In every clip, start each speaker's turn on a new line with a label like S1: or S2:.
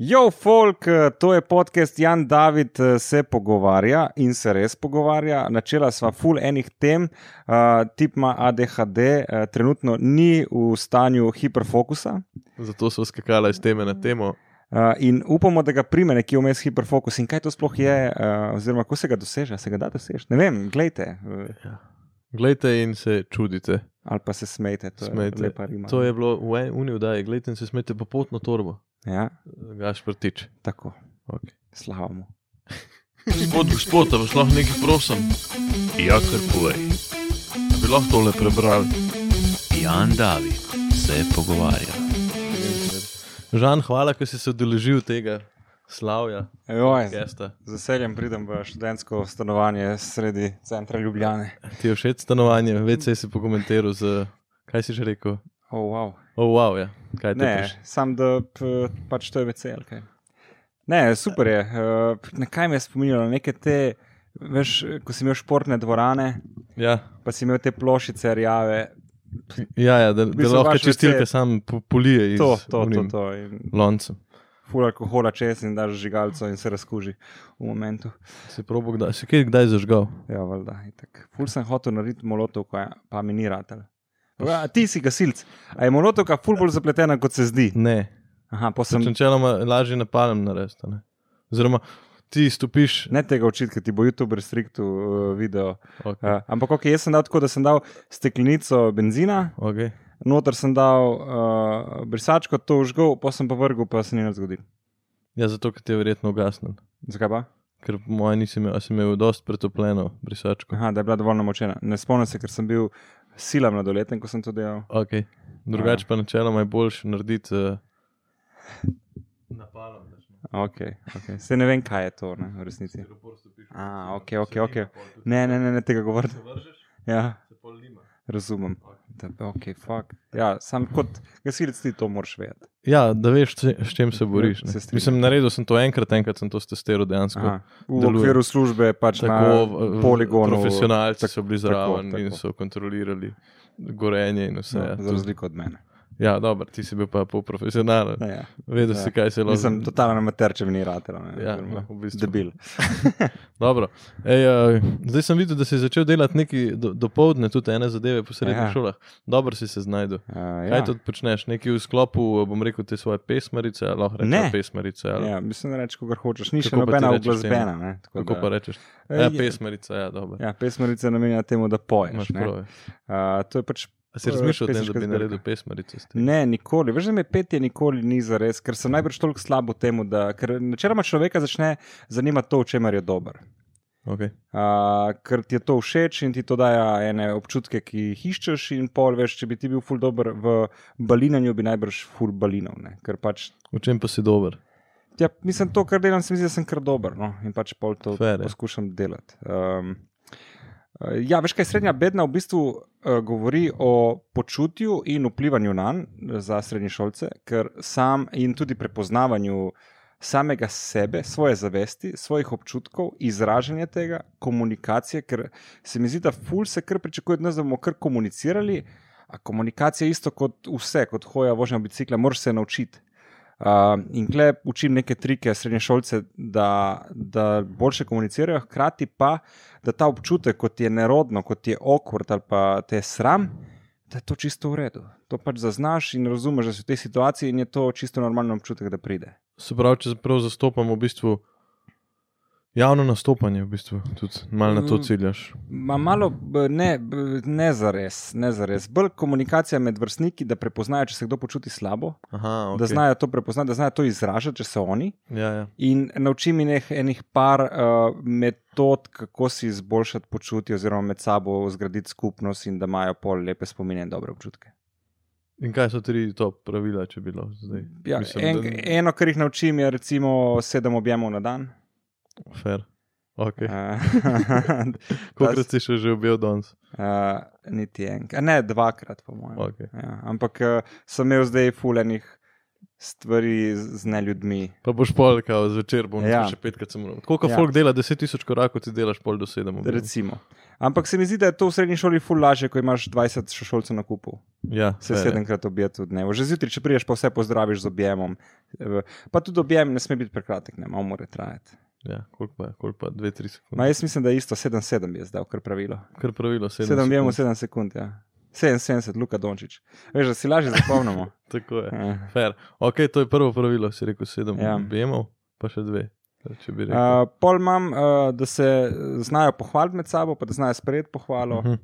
S1: Jo, folk, to je podcast Jan David eh, se pogovarja in se res pogovarja. Načela sva full enih tem, uh, tip ima ADHD, uh, trenutno ni v stanju hiperfokusa
S2: Zato so skakala iz teme na temo.
S1: uh, in upamo, da ga prime nekje vmes hiperfokus. In kaj to sploh je, uh, oziroma kako se ga doseže, se ga da doseči. Ne vem, gledajte uh,
S2: Glejte in se čudite.
S1: ali pa se smejte, to
S2: Smejte.
S1: je lepa rima.
S2: To je bilo v en- uni vdaji, gledajte in se smete popotno torbo.
S1: Ja,
S2: Gaš prtič.
S1: tako,
S2: Okay.
S1: slavamo.
S2: Gospod, gospod, vas lahko nekaj prosim?
S3: Ja, kar povej.
S2: Bi lahko tole prebrali?
S3: Jan David se pogovarja.
S2: Žan, hvala, ker si se odeležil tega slavja,
S1: Joj,
S2: gesta.
S1: z veseljem pridem v študentsko stanovanje sredi centra Ljubljane.
S2: Ti je všeč stanovanje, več si pokomentiral z, kaj si že rekel?
S1: Oh, wow.
S2: O, oh, wow, ja. kaj ti je?
S1: Ne, sam da p- pač to je vesel. Kaj. Ne, super je. eh, p- Na kaj me je spominjalo? Na Neke te, veš, ko si imel športne dvorane,
S2: Ja,
S1: pa si imel te plošice rjave.
S2: ja, ja da, da
S1: bistvu
S2: lahko
S1: vaš
S2: čistilke
S1: WC.
S2: sam po- polije iz
S1: To, to, to,
S2: onim
S1: to. In
S2: loncem.
S1: ful alkohola čez in daš žigalco in se razkuži v momentu.
S2: Si probo kdaj, si kje kdaj zažgal?
S1: Ja, valjda. itak. Ful sem hotel narediti molotov, pa mi ni ratel. Ja, ti si gasilc. A je molotovka ful bolj zapletena, kot se zdi.
S2: Ne,
S1: Aha, pa
S2: Sem...
S1: sem
S2: načeloma lažje napadem narediti. a ne. Oziroma, ti stopiš,
S1: ne tega očitka, ti bo YouTube restriktu uh, video.
S2: okay,
S1: Uh, ampak, ok, jaz sem dal tako, da sem dal steklenico benzina,
S2: okay.
S1: noter sem dal uh, brisačko, to užgal, pa sem pa vrgel, pa se ni nič zgodilo.
S2: ja, zato ker ti je verjetno ugasnen.
S1: Zakaj pa?
S2: Ker po mojem nisem imel, a sem imel dosti pretopljeno brisačko.
S1: Aha, da je bila dovolj namočena. Ne spomnim se, ker sem bil sila mladoleten, ko sem to delal.
S2: Okay. Drugače pa načeloma je boljš narediti. Uh... Napadam, da se
S1: Okay, okay. Se ne vem, kaj je to ne, v resnici.
S2: napor stopiš.
S1: A, ok, ok, ok. Ne, ne, ne, ne tega govoriti.
S2: vržeš,
S1: Ja,
S2: se pol lima.
S1: razumem. Da, ok, fuck. Ja, sam kot gasilec ti to moraš vedeti.
S2: Ja, da veš, s- s čim se boriš.
S1: Ja, Se
S2: Ne.
S1: strinjam.
S2: Mislim, naredil sem to enkrat, enkrat sem to testiral dejansko.
S1: Aha, V
S2: deluje.
S1: okviru službe pač na
S2: Tako
S1: poligonu.
S2: Profesionalci
S1: tak-
S2: so bili
S1: tako,
S2: zraven in
S1: tako.
S2: so kontrolirali gorenje in vse.
S1: No,
S2: No,
S1: za razliko od mene.
S2: ja, dobro, ti si bil pa polprofesionalen.
S1: Ja, ja.
S2: Vedel
S1: ja.
S2: si, kaj se lahko
S1: Mislim, totalno amater, če mi ni rad.
S2: Ja, no, v bistvu.
S1: Debil.
S2: Dobro. Ej, uh, zdaj sem videl, da si začel delati neki do, dopoledne, tudi ene zadeve po srednjih
S1: Ja.
S2: ja. šolah. Dobro si se znašel.
S1: Uh,
S2: Ja.
S1: ja.
S2: Kaj tudi počneš? Nekaj v sklopu, eh, bom rekel, te svoje pesmarice, ali lahko
S1: Ne.
S2: rečeš pesmarice. Ali... Ja.
S1: Ja, mislim, da rečeš, kar hočeš. Ni še
S2: Kako pa ti
S1: nobena
S2: rečeš
S1: oglasbena. ne, tako
S2: Kako
S1: da-
S2: pa rečeš?
S1: Eh,
S2: Ja,
S1: je-
S2: pesmarica, ja, dobro. Ja,
S1: Ja, pesmarica namenja temu, da poješ.
S2: Imaš
S1: ne.
S2: prav.
S1: Uh, to je pač.
S2: A si
S1: eh,
S2: razmišljal o tem, da
S1: pesniška
S2: bi
S1: zbirka.
S2: naredil pesmarice? s tem?
S1: Ne, nikoli. Veš, da me petje nikoli ni za res, ker sem najbrž toliko slab v tem, da ker načeloma človeka začne zanimati to, v čemer je dober.
S2: Okay.
S1: Uh, ker ti je to všeč in ti to daja ene občutke, ki jih iščeš, in pol veš, če bi ti bil ful dober v balinanju, bi najbrž ful balinov, ne? ker pač.
S2: V čem pa si dober?
S1: Ja, mislim, to, kar delam, se mi zdi, da sem kar dober no? in pač pol to
S2: Fair je.
S1: poskušam delati. Um, eh, ja, veš, kaj srednja bedna v bistvu uh, govori o počutju in vplivanju na njega za srednješolce, ker sam in tudi prepoznavanju samega sebe, svoje zavesti, svojih občutkov, izražanje tega, komunikacije, ker se mi zdi, da ful se kar pričakuje od nas, da bomo kar komunicirali. A komunikacija je isto kot vse, kot hoja vožnja bicikla, moraš se naučiti. Uh, in kle učim neke trike srednje šolce, da, da boljše komunicirajo, hkrati pa, da ta občutek, kot ti je nerodno, kot ti je okvart ali pa te je sram, da je to čisto v redu. To pač zaznaš in razumeš, da si v tej situaciji in je to čisto normalen občutek, da pride.
S2: Se pravi, če prav zastopam v bistvu javno nastopanje, v bistvu tudi malo na to
S1: Mm.
S2: ciljaš.
S1: Ma malo b- ne, b- ne za res, ne za res. Bolj komunikacija med vrstniki, da prepoznajo, če se kdo počuti slabo, okay.
S2: Aha,
S1: da znajo to prepoznati, da znajo to izražati, če so oni.
S2: Ja, ja.
S1: In nauči mi neh, enih par uh, metod, kako si izboljšati počutje, oziroma med sabo zgraditi skupnost in da imajo pol lepe spomine in dobre občutke.
S2: In kaj so tri to pravila, če bi bilo zdaj?
S1: Ja,
S2: Mislim,
S1: en,
S2: da-
S1: Eno, kar jih naučim, je recimo sedem objemov na dan.
S2: Fer. Okay.
S1: Uh,
S2: Kolikrat si še že objel danes?
S1: uh, niti enkrat, ne dvakrat, po mojem. eh,
S2: Okay.
S1: Ja, ampak uh, sem imel zdaj fuljenih stvari z z ne ljudmi.
S2: Pa boš pol, kao zvečer bom
S1: Ja.
S2: ja. še petkrat sem moral. Koliko
S1: Ja.
S2: ja. folk dela, 10.000 korakov ti delaš pol do 7.
S1: Recimo. Ampak se mi zdi, da je to v srednji šoli ful laže, ko imaš 20 šolcev na kupu.
S2: Ja,
S1: Se
S2: fair je.
S1: sedemkrat obijete v dnevu. Že zjutraj, če priješ, pa vse pozdraviš z objemom. Eh, Pa tudi objem ne sme biti prekratek, ne, malo mora trajati.
S2: Ja, koliko pa, je? koliko pa, 2-3
S1: Ma
S2: sekunde.
S1: jaz mislim, da je isto 7-7 je zdaj, kar pravilo.
S2: Kar pravilo, 7.
S1: 7 objemov, 7 sekund, ja. 77, Luka Dončić. Veš, da si lažje zapomnimo.
S2: Tako je.
S1: Eh.
S2: Fair. Ok, to je prvo pravilo, si rekel 7
S1: Ja.
S2: ja. objemov, pa še dve. Če bi rekel.
S1: Uh, pol imam, uh, da se znajo pohvaliti med sabo, pa da znajo sprejeti pohvalo. Uh
S2: Mhm.
S1: -huh.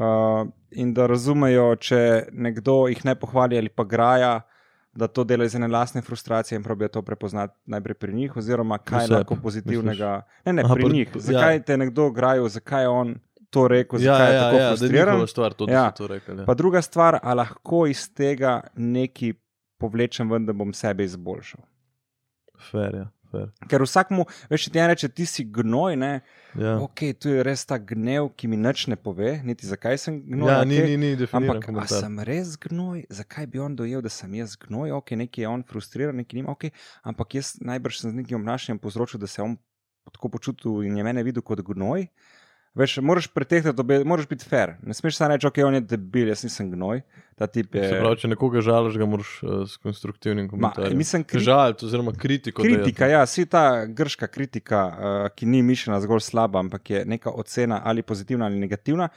S1: uh, in da razumejo, če nekdo jih ne pohvali ali pa graja, da to dela iz ene lastne frustracije in probijo to prepoznati najprej pri njih, oziroma kaj
S2: sebi,
S1: je lahko pozitivnega. Ne, ne,
S2: Aha,
S1: pri
S2: pri-
S1: njih.
S2: ja.
S1: Zakaj te je nekdo grajal, zakaj je on to rekel, zakaj je tako
S2: ja, da je
S1: frustriran.
S2: njihova stvar, to, da
S1: Ja.
S2: ja. to rekel. Ja.
S1: Pa druga stvar, a lahko iz tega nekaj povlečem ven, da bom sebe izboljšal.
S2: Fair, ja. Fair.
S1: Ker vsakmu, veš, če ti en reče, ti si gnoj, ne,
S2: Ja.
S1: Ok, tu je res ta gnev, ki mi nič ne pove, niti zakaj sem gnoj.
S2: ja,
S1: okej.
S2: ni, ni, ni definiran
S1: no, Ampak, a
S2: komentar.
S1: sem res gnoj, zakaj bi on dojel, da sem jaz gnoj, ok, neki je on frustriran, neki nima, ok, ampak jaz najbrž sem z nekim obnašanjem povzročil, da se je on tako počutil in je mene videl kot gnoj. Veš, moraš pretehtati, obe- moraš biti fair. Ne smeš samo reči, ok, on je debil, jaz nisem gnoj, ta tip je.
S2: Se pravi, če nekoga žališ, ga moraš eh, s konstruktivnim
S1: Ma, e,
S2: komentarjem.
S1: mislim, kri...
S2: Žal, oziroma kritiko. da je to.
S1: Kritika, ja, vsi ta grška kritika, uh, ki ni mišljena zgolj slaba, ampak je neka ocena ali pozitivna ali negativna.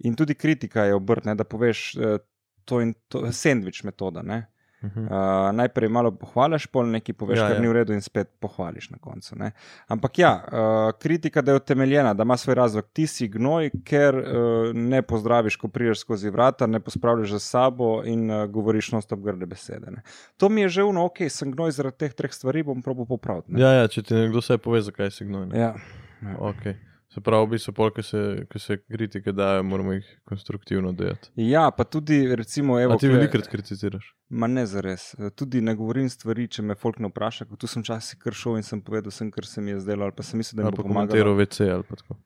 S1: In tudi kritika je obrtna, da poveš, uh, to je sandvič metoda. ne.
S2: Mhm.
S1: Uh, najprej malo pohvališ, pol nekaj poveš, ja,
S2: Ja,
S1: kar ja.
S2: ja.
S1: ni v redu, in spet pohvališ na koncu. Ne? Ampak ja, uh, kritika, da je utemeljena, da ima svoj razlog. Ti si gnoj, ker uh, ne pozdraviš, ko priješ skozi vrata, ne pospravljaš za sabo in uh, govoriš non-stop grde besede. Ne? To mi je že uno, ok, sem gnoj zaradi teh treh stvari, bom probo popravil. ne.
S2: Ja, ja, če ti nekdo vse pove, zakaj si gnojen.
S1: Ja.
S2: Okay. Se pravi, v bistvu, pol, ko se, ko se kritike dajo, moramo jih konstruktivno delati.
S1: ja, pa tudi, recimo, evo,
S2: A ti
S1: ko je-
S2: velikrat kritiziraš.
S1: Ma ne za res. Tudi ne govorim stvari, če me folk ne vpraša. kot Tu sem včasih kršil in sem povedal, sem, kar se mi je zdelo, ali pa sem mislil, da mi
S2: Ali
S1: bo
S2: pa
S1: pomagalo.
S2: komentiral VC ali pa tako.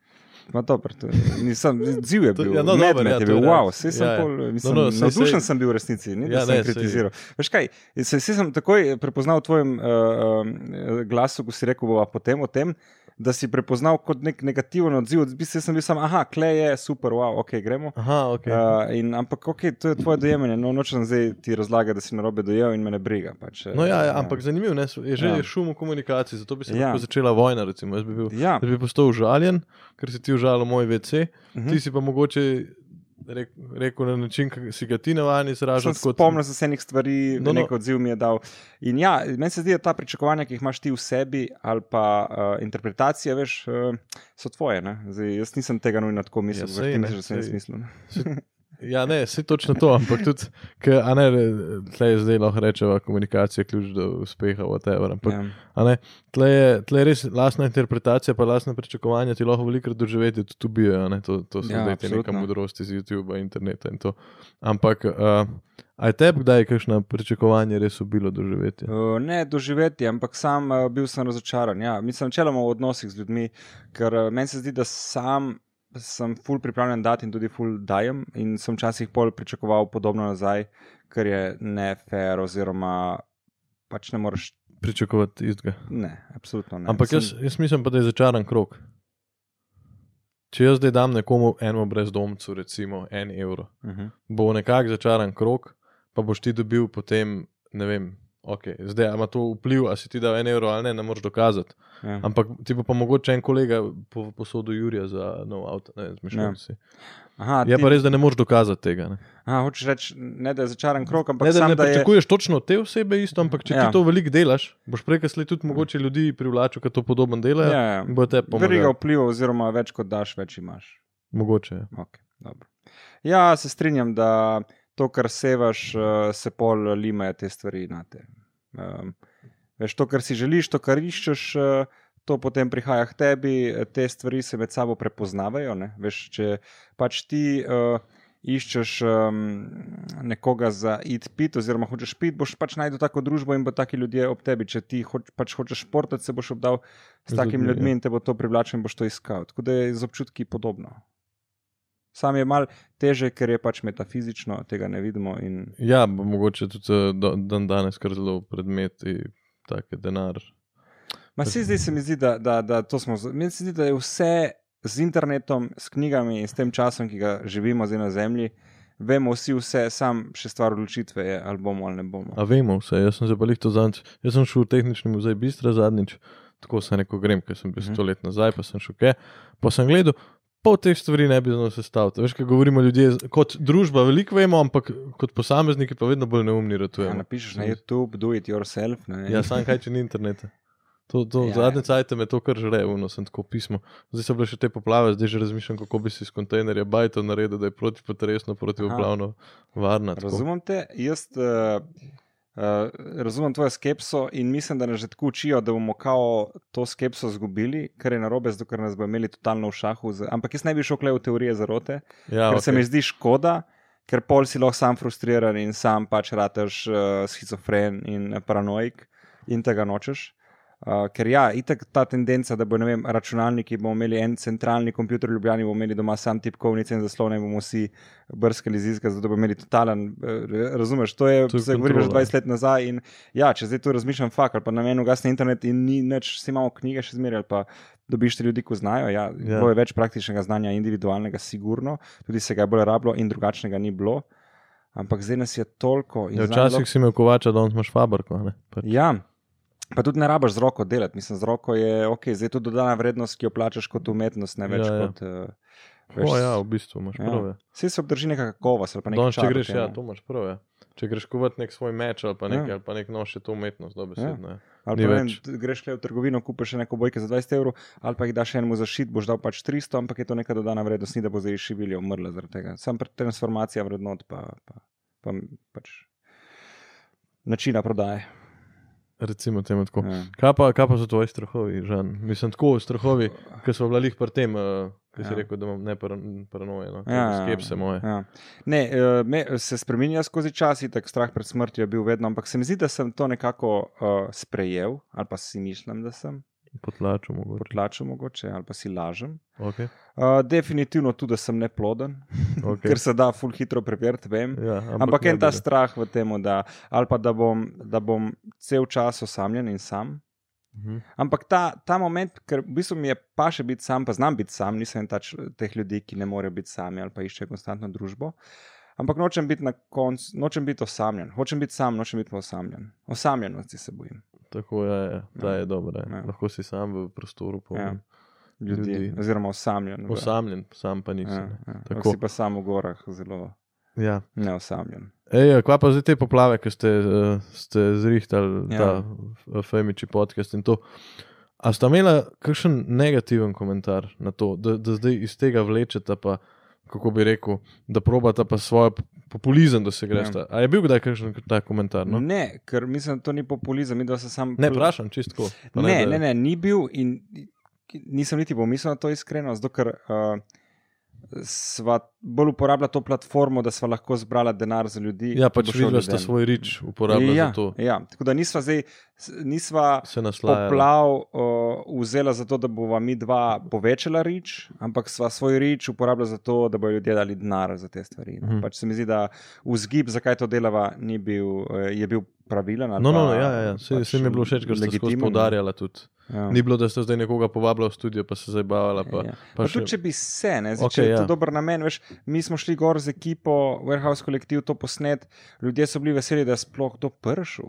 S1: Ma dobro, to je- nisem, odziv je
S2: To-
S1: bil,
S2: ja, no,
S1: medved
S2: dobro, ja,
S1: je
S2: to
S1: bil,
S2: je
S1: wow,
S2: res.
S1: vse sem,
S2: Ja, ja.
S1: pol, mislim,
S2: No, no, saj-
S1: navdušen
S2: sej-
S1: sem bil v resnici, ni, da
S2: Ja,
S1: sem
S2: ne, sej-
S1: kritiziral. Veš kaj, se, se sem takoj prepoznal v tvojem uh, um, glasu, ko si rekel, bova potem o tem, da si prepoznal kot nek negativen odziv, v bistvu sem bil sam, aha, kle je, super, wow, ok, gremo.
S2: Aha, ok.
S1: Uh, in, ampak ok, to je tvoje dojemanje, no nočem zdaj ti razlagati, da si narobe dojel in me ne briga. Pač, eh,
S2: No, ja, ja, ampak zanimivo ne, so- je že
S1: Ja.
S2: ja. šum v komunikaciji, zato bi se
S1: Ja.
S2: ja. lahko začela vojna. Recimo. Jaz bi, bil,
S1: Ja,
S2: jaz bi postal užaljen, ker si ti užalil moj VC,
S1: mhm.
S2: ti si pa mogoče rek, rekel na način, ki si ga ti navaden
S1: Sem
S2: izražati.
S1: se spomnil sem se enih stvari, no, no.
S2: No, no.
S1: nek odziv mi je dal. In ja, meni se zdi, da ta pričakovanja, ki jih imaš ti v sebi, ali pa uh, interpretacije, veš, uh, so tvoje. ne. Zdaj, jaz nisem tega nujno tako mislil,
S2: Ja,
S1: ja,
S2: sej,
S1: ti
S2: ne,
S1: misliš, da sem jaz
S2: sej.
S1: mislil. ne.
S2: Ja, ne, se točno to, ampak tudi, ker ne, tle je zdaj lahko rečeva, komunikacija je ključ do uspeha, whatever. Ampak,
S1: Ja.
S2: a ne, tle, je, tle je res lastna interpretacija, pa lastna pričakovanja ti lahko veliko doživeti, tudi tu bijo, ne, to, to so
S1: Ja,
S2: ja, te neka
S1: absolutno.
S2: modrost iz YouTube, interneta in to. Ampak, uh, a je tebi kdaj kakšna pričakovanja res obilo doživeti?
S1: Uh, ne doživeti, ampak sam uh, bil sem razočaran. Ja. Mislim, načeloma v odnosih z ljudmi, ker uh, meni se zdi, da sam sem ful pripravljen dati in tudi ful dajem. In sem včasih pol pričakoval podobno nazaj, ker je nefer oziroma pač ne moreš.
S2: Pričakovati istega.
S1: Ne, absolutno ne.
S2: Ampak
S1: Sem-
S2: jaz, jaz mislim, pa, da je začaran krok. Če jaz zdaj dam nekomu, enemu brezdomcu, recimo, en evro.
S1: Mhm.
S2: bo nekako začaran krok, pa boš ti dobil potem, ne vem, okay, zdaj a ima to vpliv, a si ti dal en evro ali ne, ne moreš dokazati.
S1: Ja.
S2: Ampak ti bo pa mogoče en kolega po, posodil Jurija za nov avto, ne vem,
S1: Ja.
S2: zmišljujem si.
S1: Aha,
S2: Je
S1: ti-
S2: pa res, da ne moreš dokazati tega. Ne,
S1: aha, hočeš reči, ne da je začaran krok, ampak
S2: ne da
S1: sam,
S2: ne
S1: da je,
S2: pričakuješ točno te osebe isto, ampak če
S1: Ja. Mhm.
S2: ti to veliko delaš, boš prej kasneje tudi mogoče ljudi privlačil, ki to podoben delajo.
S1: Ja, ja.
S2: in Bo te
S1: Veriga
S2: pomagal.
S1: vpliva, oziroma več kot daš, več imaš.
S2: Mogoče. ja.
S1: Okay, dobro. ja, se strinjam, da to, kar sevaš, eh, se pol limajo te stvari na te. Um, veš, to, kar si želiš, to, kar iščeš, eh, to potem prihaja k tebi, eh, te stvari se med sabo prepoznavajo. ne. Veš, če pač ti. Uh, Iščeš um, nekoga za id pit, oziroma hočeš pit, boš pač najdel tako družbo in bo taki ljudje ob tebi. Če ti hoč, pač hočeš športati, se boš obdal s
S2: Z
S1: takimi
S2: ljudmi, ja.
S1: ljudmi in te bo to privlačilo in boš to iskal. Tako da je z občutki podobno. sam je mal teže, ker je pač metafizično, tega ne vidimo. In,
S2: Ja, bo mogoče tudi eh, do- dan danes kar zelo predmeti, take denar.
S1: ma se zdaj se mi zdi, da, da, da to smo, z- meni se zdi, da je vse z internetom, s knjigami in s tem časom, ki ga živimo zdaj na zemlji, vemo vsi vse, sam še stvar odločitve je, ali bomo ali ne bomo.
S2: A vemo vse, jaz sem se pa jih to zadnjič, jaz sem šel v tehnični muzej Bistra zadnjič, tako sem rekel, grem, ker sem bil
S1: Mhm.
S2: sto let nazaj, pa sem šel kaj. Pa sem gledal, pol teh stvari ne bi znal sestaviti. Veš, kaj govorimo ljudje, z- kot družba veliko vemo, ampak kot posamezniki pa vedno bolj neumni
S1: Ja,
S2: ratujemo.
S1: napišeš na
S2: Sem-
S1: YouTube, do it yourself. Ne,
S2: Ja, sam kaj, če ni interneta. To, to,
S1: Ja,
S2: ja,
S1: ja.
S2: zadnje cajt me to kar žre, uno sem tako pismo. Zdaj so bile še te poplave, zdaj že razmišljam, kako bi si iz kontejnerja bajto naredil, da je protipotresno, protipoplavno varno.
S1: Razumem te, jaz uh, uh, razumem tvojo skepso in mislim, da nas že tako učijo, da bomo kao to skepso izgubili, kar je narobe, zato ker nas bo imeli totalno v šahu. Z, ampak jaz ne bi šel kle v teorije zarote,
S2: Ja,
S1: ker okay. se mi
S2: okay.
S1: zdi škoda, ker pol si lahko sam frustriran in sam pač rataš uh, schizofren in paranoik in tega nočeš. Uh, ker ja, itak ta tendenca, da bo ne vem, računalniki, bomo imeli en centralni komputer, ljubljeni bomo imeli doma sam tipkovnice in zaslone, in bomo vsi brskali zizka, zato da bomo imeli totalen, eh, razumeš, to je,
S2: To
S1: to
S2: je
S1: je se govori že
S2: kontrola.
S1: 20 let nazaj in ja, če zdaj to razmišljam, fakt, ali pa na meni ugasne internet in ni nič, vsi imamo knjige še zmeraj, ali pa dobiš te ljudi, ko znajo, ja,
S2: Ja.
S1: ja. bilo je več praktičnega znanja, individualnega, sigurno, tudi se ga je bolj rabilo in drugačnega ni bilo, ampak zdaj nas je toliko in
S2: Ja,
S1: znanje
S2: včasih si imel kovača, danes imaš fabriko. ne, pač.
S1: Ja, pa tudi ne rabiš z roko delati, mislim, z roko je ok, zdaj je to dodana vrednost, ki jo plačaš kot umetnost, ne več
S2: Ja,
S1: ja,
S2: ja.
S1: ja. kot. Uh, veš,
S2: O, ja, v bistvu imaš
S1: Ja,
S2: prav. Ja.
S1: Vsi se obdrži neka kakovost ali pa nekaj.
S2: Danes, če greš, ja, to imaš prav. Ja. Če greš kuvat nek svoj meč ali pa nekaj,
S1: Ja.
S2: ali pa nek noš, je to umetnost, dobesedno. Ja.
S1: Ali
S2: Ni
S1: pa, ne vem,
S2: več.
S1: t- greš le v trgovino, kupiš še neko bojke za 20 evrov, ali pa jih daš enemu zašit, boš dal pač 300, ampak je to neka dodana vrednost, ni da bo zdaj šibili umrla zaradi tega. Sam pred transformacija vrednot, pa, pa, pa m- pač načina prodaje.
S2: Recimo temu tako.
S1: Ja.
S2: Kaj pa, kaj pa so tvoji strahovi, Žan? Mislim, tako strahovi, ki smo bili lih pri tem, uh, ki si ja.
S1: Ja.
S2: rekel, da imam ne paran- paranoje, no?
S1: Ja,
S2: ja,
S1: ja,
S2: skepse moje.
S1: Ja. Ne, eh, me, se spremenja skozi čas, tako strah pred smrtjo je bil vedno, ampak se mi zdi, da sem to nekako uh, sprejel, ali pa si mislim, da sem,
S2: Potlačil mogoče.
S1: potlačil mogoče, ali pa si lažem.
S2: Okay.
S1: Uh, definitivno tudi, da sem neploden,
S2: Okay.
S1: okay. ker se da full hitro preveriti, vem.
S2: ja,
S1: Ampak
S2: ne
S1: en ta
S2: bi, ne.
S1: strah v tem, da, ali pa da bom, da bom cel čas osamljen in sam.
S2: Mhm.
S1: Ampak ta, ta moment, ker v bistvu mi je pa še biti sam, pa znam biti sam, nisem en tač eh, teh ljudi, ki ne morejo biti sami ali pa iščejo konstantno družbo. Ampak nočem biti na koncu, nočem biti osamljen, hočem biti sam, nočem biti pa osamljen. Osamljenosti se bojim.
S2: Tako je, ja, ta
S1: Ja.
S2: je dobra. Ja.
S1: Ja.
S2: Lahko si sam v prostoru, ja.
S1: Ja. Ljudi,
S2: Ljudi.
S1: ljudi. oziroma osamljen. v-
S2: osamljen, sam pa nisi.
S1: Ja,
S2: Ja.
S1: ja.
S2: Tako.
S1: Ampak Si pa sam v gorah, zelo
S2: Ja.
S1: neosamljen.
S2: Ej, kva pa zdaj te poplave, ki ste, eh, ste zrihtali
S1: Ja.
S2: ja. ta eh, Femiči podcast in to. A sta imela kakšen negativen komentar na to, da, da zdaj iz tega vlečete, pa kako bi rekel, da probata pa svoj populizem, da se greste. Ja. A je bil kdaj kakšen ta komentar? No?
S1: Ne, ker mislim, da to ni populizem, mi da se sam.
S2: Ne,
S1: pl-
S2: vprašam čistko.
S1: Ne, ne, ne, ni bil in nisem niti pomislil na to iskreno, zato ker uh, sva bolj uporabljala to platformo, da sva lahko zbrala denar za ljudi.
S2: Ja,
S1: ki
S2: pač
S1: bo šel
S2: videla sta
S1: ljudem.
S2: svoj rič uporabljala
S1: ja,
S2: za to. ja.
S1: Ja, tako da nisva zdaj, s- nisva
S2: Se naslajala.
S1: poplav uh, vzela za to, da bova mi dva povečala rič, ampak sva svoj rič uporabljala za to, da bodo ljudje dali denar za te stvari.
S2: Mhm.
S1: Mm. Pač se mi zdi, da vzgib, zakaj to delava, ni bil, eh, je bil pravilen. ali
S2: No,
S1: pa
S2: no, ja, ja, ja. Se,
S1: pač
S2: pač se mi je bilo všeč, ker ste skozi
S1: legitimen. no.
S2: poudarjala tudi.
S1: Ja.
S2: Ni bilo, da ste zdaj nekoga povabila v studio, pa se zabavala. Pa,
S1: Ja. Pa
S2: pa še-
S1: tudi, če bi se, ne, zdaj,
S2: Okej,
S1: okay, če je
S2: ja.
S1: to dober namen, veš, mi smo šli gor z ekipo, warehouse kolektiv to posnet, ljudje so bili veseli, da je sploh kdo pršil.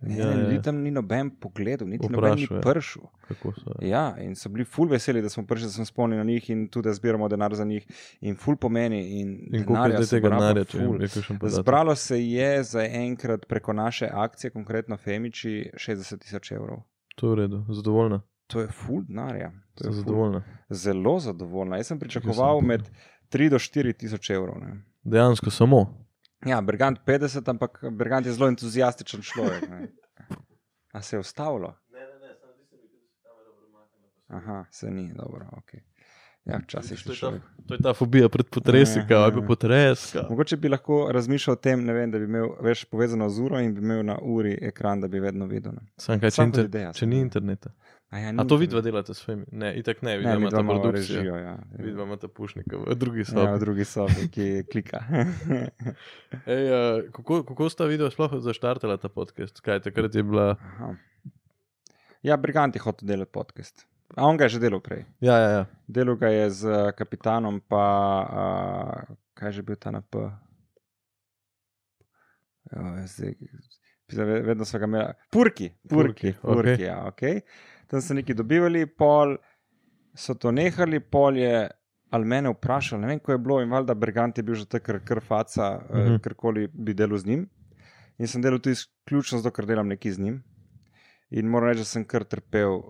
S2: Ja,
S1: Ja,
S2: ja, ja.
S1: Ljudi tam ni noben pogledal, niti noben ni
S2: Vprašal, ja.
S1: pršil.
S2: Kako so? Ja.
S1: Ja, in so bili ful veseli, da smo prišli, da smo spomnili na njih in tudi, da zbiramo denar za njih. In ful pomeni. In,
S2: In koliko je
S1: denarja
S2: zdaj
S1: se
S2: tega
S1: porabila
S2: denarja, če
S1: ful.
S2: je kakšen podatek?
S1: Zbralo se je za enkrat preko naše akcije, konkretno Femiči, 60 tisoč evrov.
S2: To je v redu, zadovoljna.
S1: To je ful denarja. To
S2: Sem
S1: je ful.
S2: zadovoljna.
S1: zelo zadovoljna. Jaz sem
S2: sem
S1: pričakoval
S2: bil.
S1: med 3 do 4 tisoč evrov. Ne.
S2: Dejansko samo.
S1: Ja, Bergant 50, ampak Bergant je zelo entuzijastičen človek. Ne. A se je ustavilo? Ne, ne, ne, sem videl, da se kamera premaknila. Aha, se ni, dobro, ok. Ja, včasih še
S2: To je ta-
S1: človek.
S2: To je ta fobija pred potresi,
S1: Ja,
S2: kaj
S1: ja.
S2: bi potres. kao.
S1: Mogoče bi lahko razmišljal o tem, ne vem, da bi imel več povezano z uro in bi imel na uri ekran, da bi vedno videl. ne.
S2: Sam kaj, če,
S1: Samo
S2: inter,
S1: ideja,
S2: če ni interneta.
S1: A, ja, ni
S2: A to
S1: internet.
S2: vidva delate s svojimi? Ne, itak ne, vidva
S1: Ne, mi
S2: imata
S1: dva imamo
S2: produkcijo.
S1: režijo, ja.
S2: Vidva imata pušnika v drugi sobi.
S1: Ja, v drugi sobi, ki klika.
S2: Ej, eh, kako, kako sta videla sploh zaštartala ta podcast? Kaj takrat je bila?
S1: Aha. ja, Brigant je hotel delati podcast. A on ga je že delal prej.
S2: Ja, ja, ja.
S1: Delal ga je z eh, kapitanom, pa uh, kaj je že bil ta na P. Jo, zdaj, zdaj ve- vedno so ga imeli. Purki, purki,
S2: Purki, okej.
S1: purki okay. ja, okay. tam so neki dobivali, pol so to nehali, pol je. Ali mene vprašal, ne vem, ko je bilo, in valjda Brigant je bil že takrat krfaca, mm
S2: Mhm.
S1: -hmm. karkoli bi delal z njim. In sem delal tudi izključno zato, ker delam nekaj z njim. In moram reči, da sem kar trpel uh,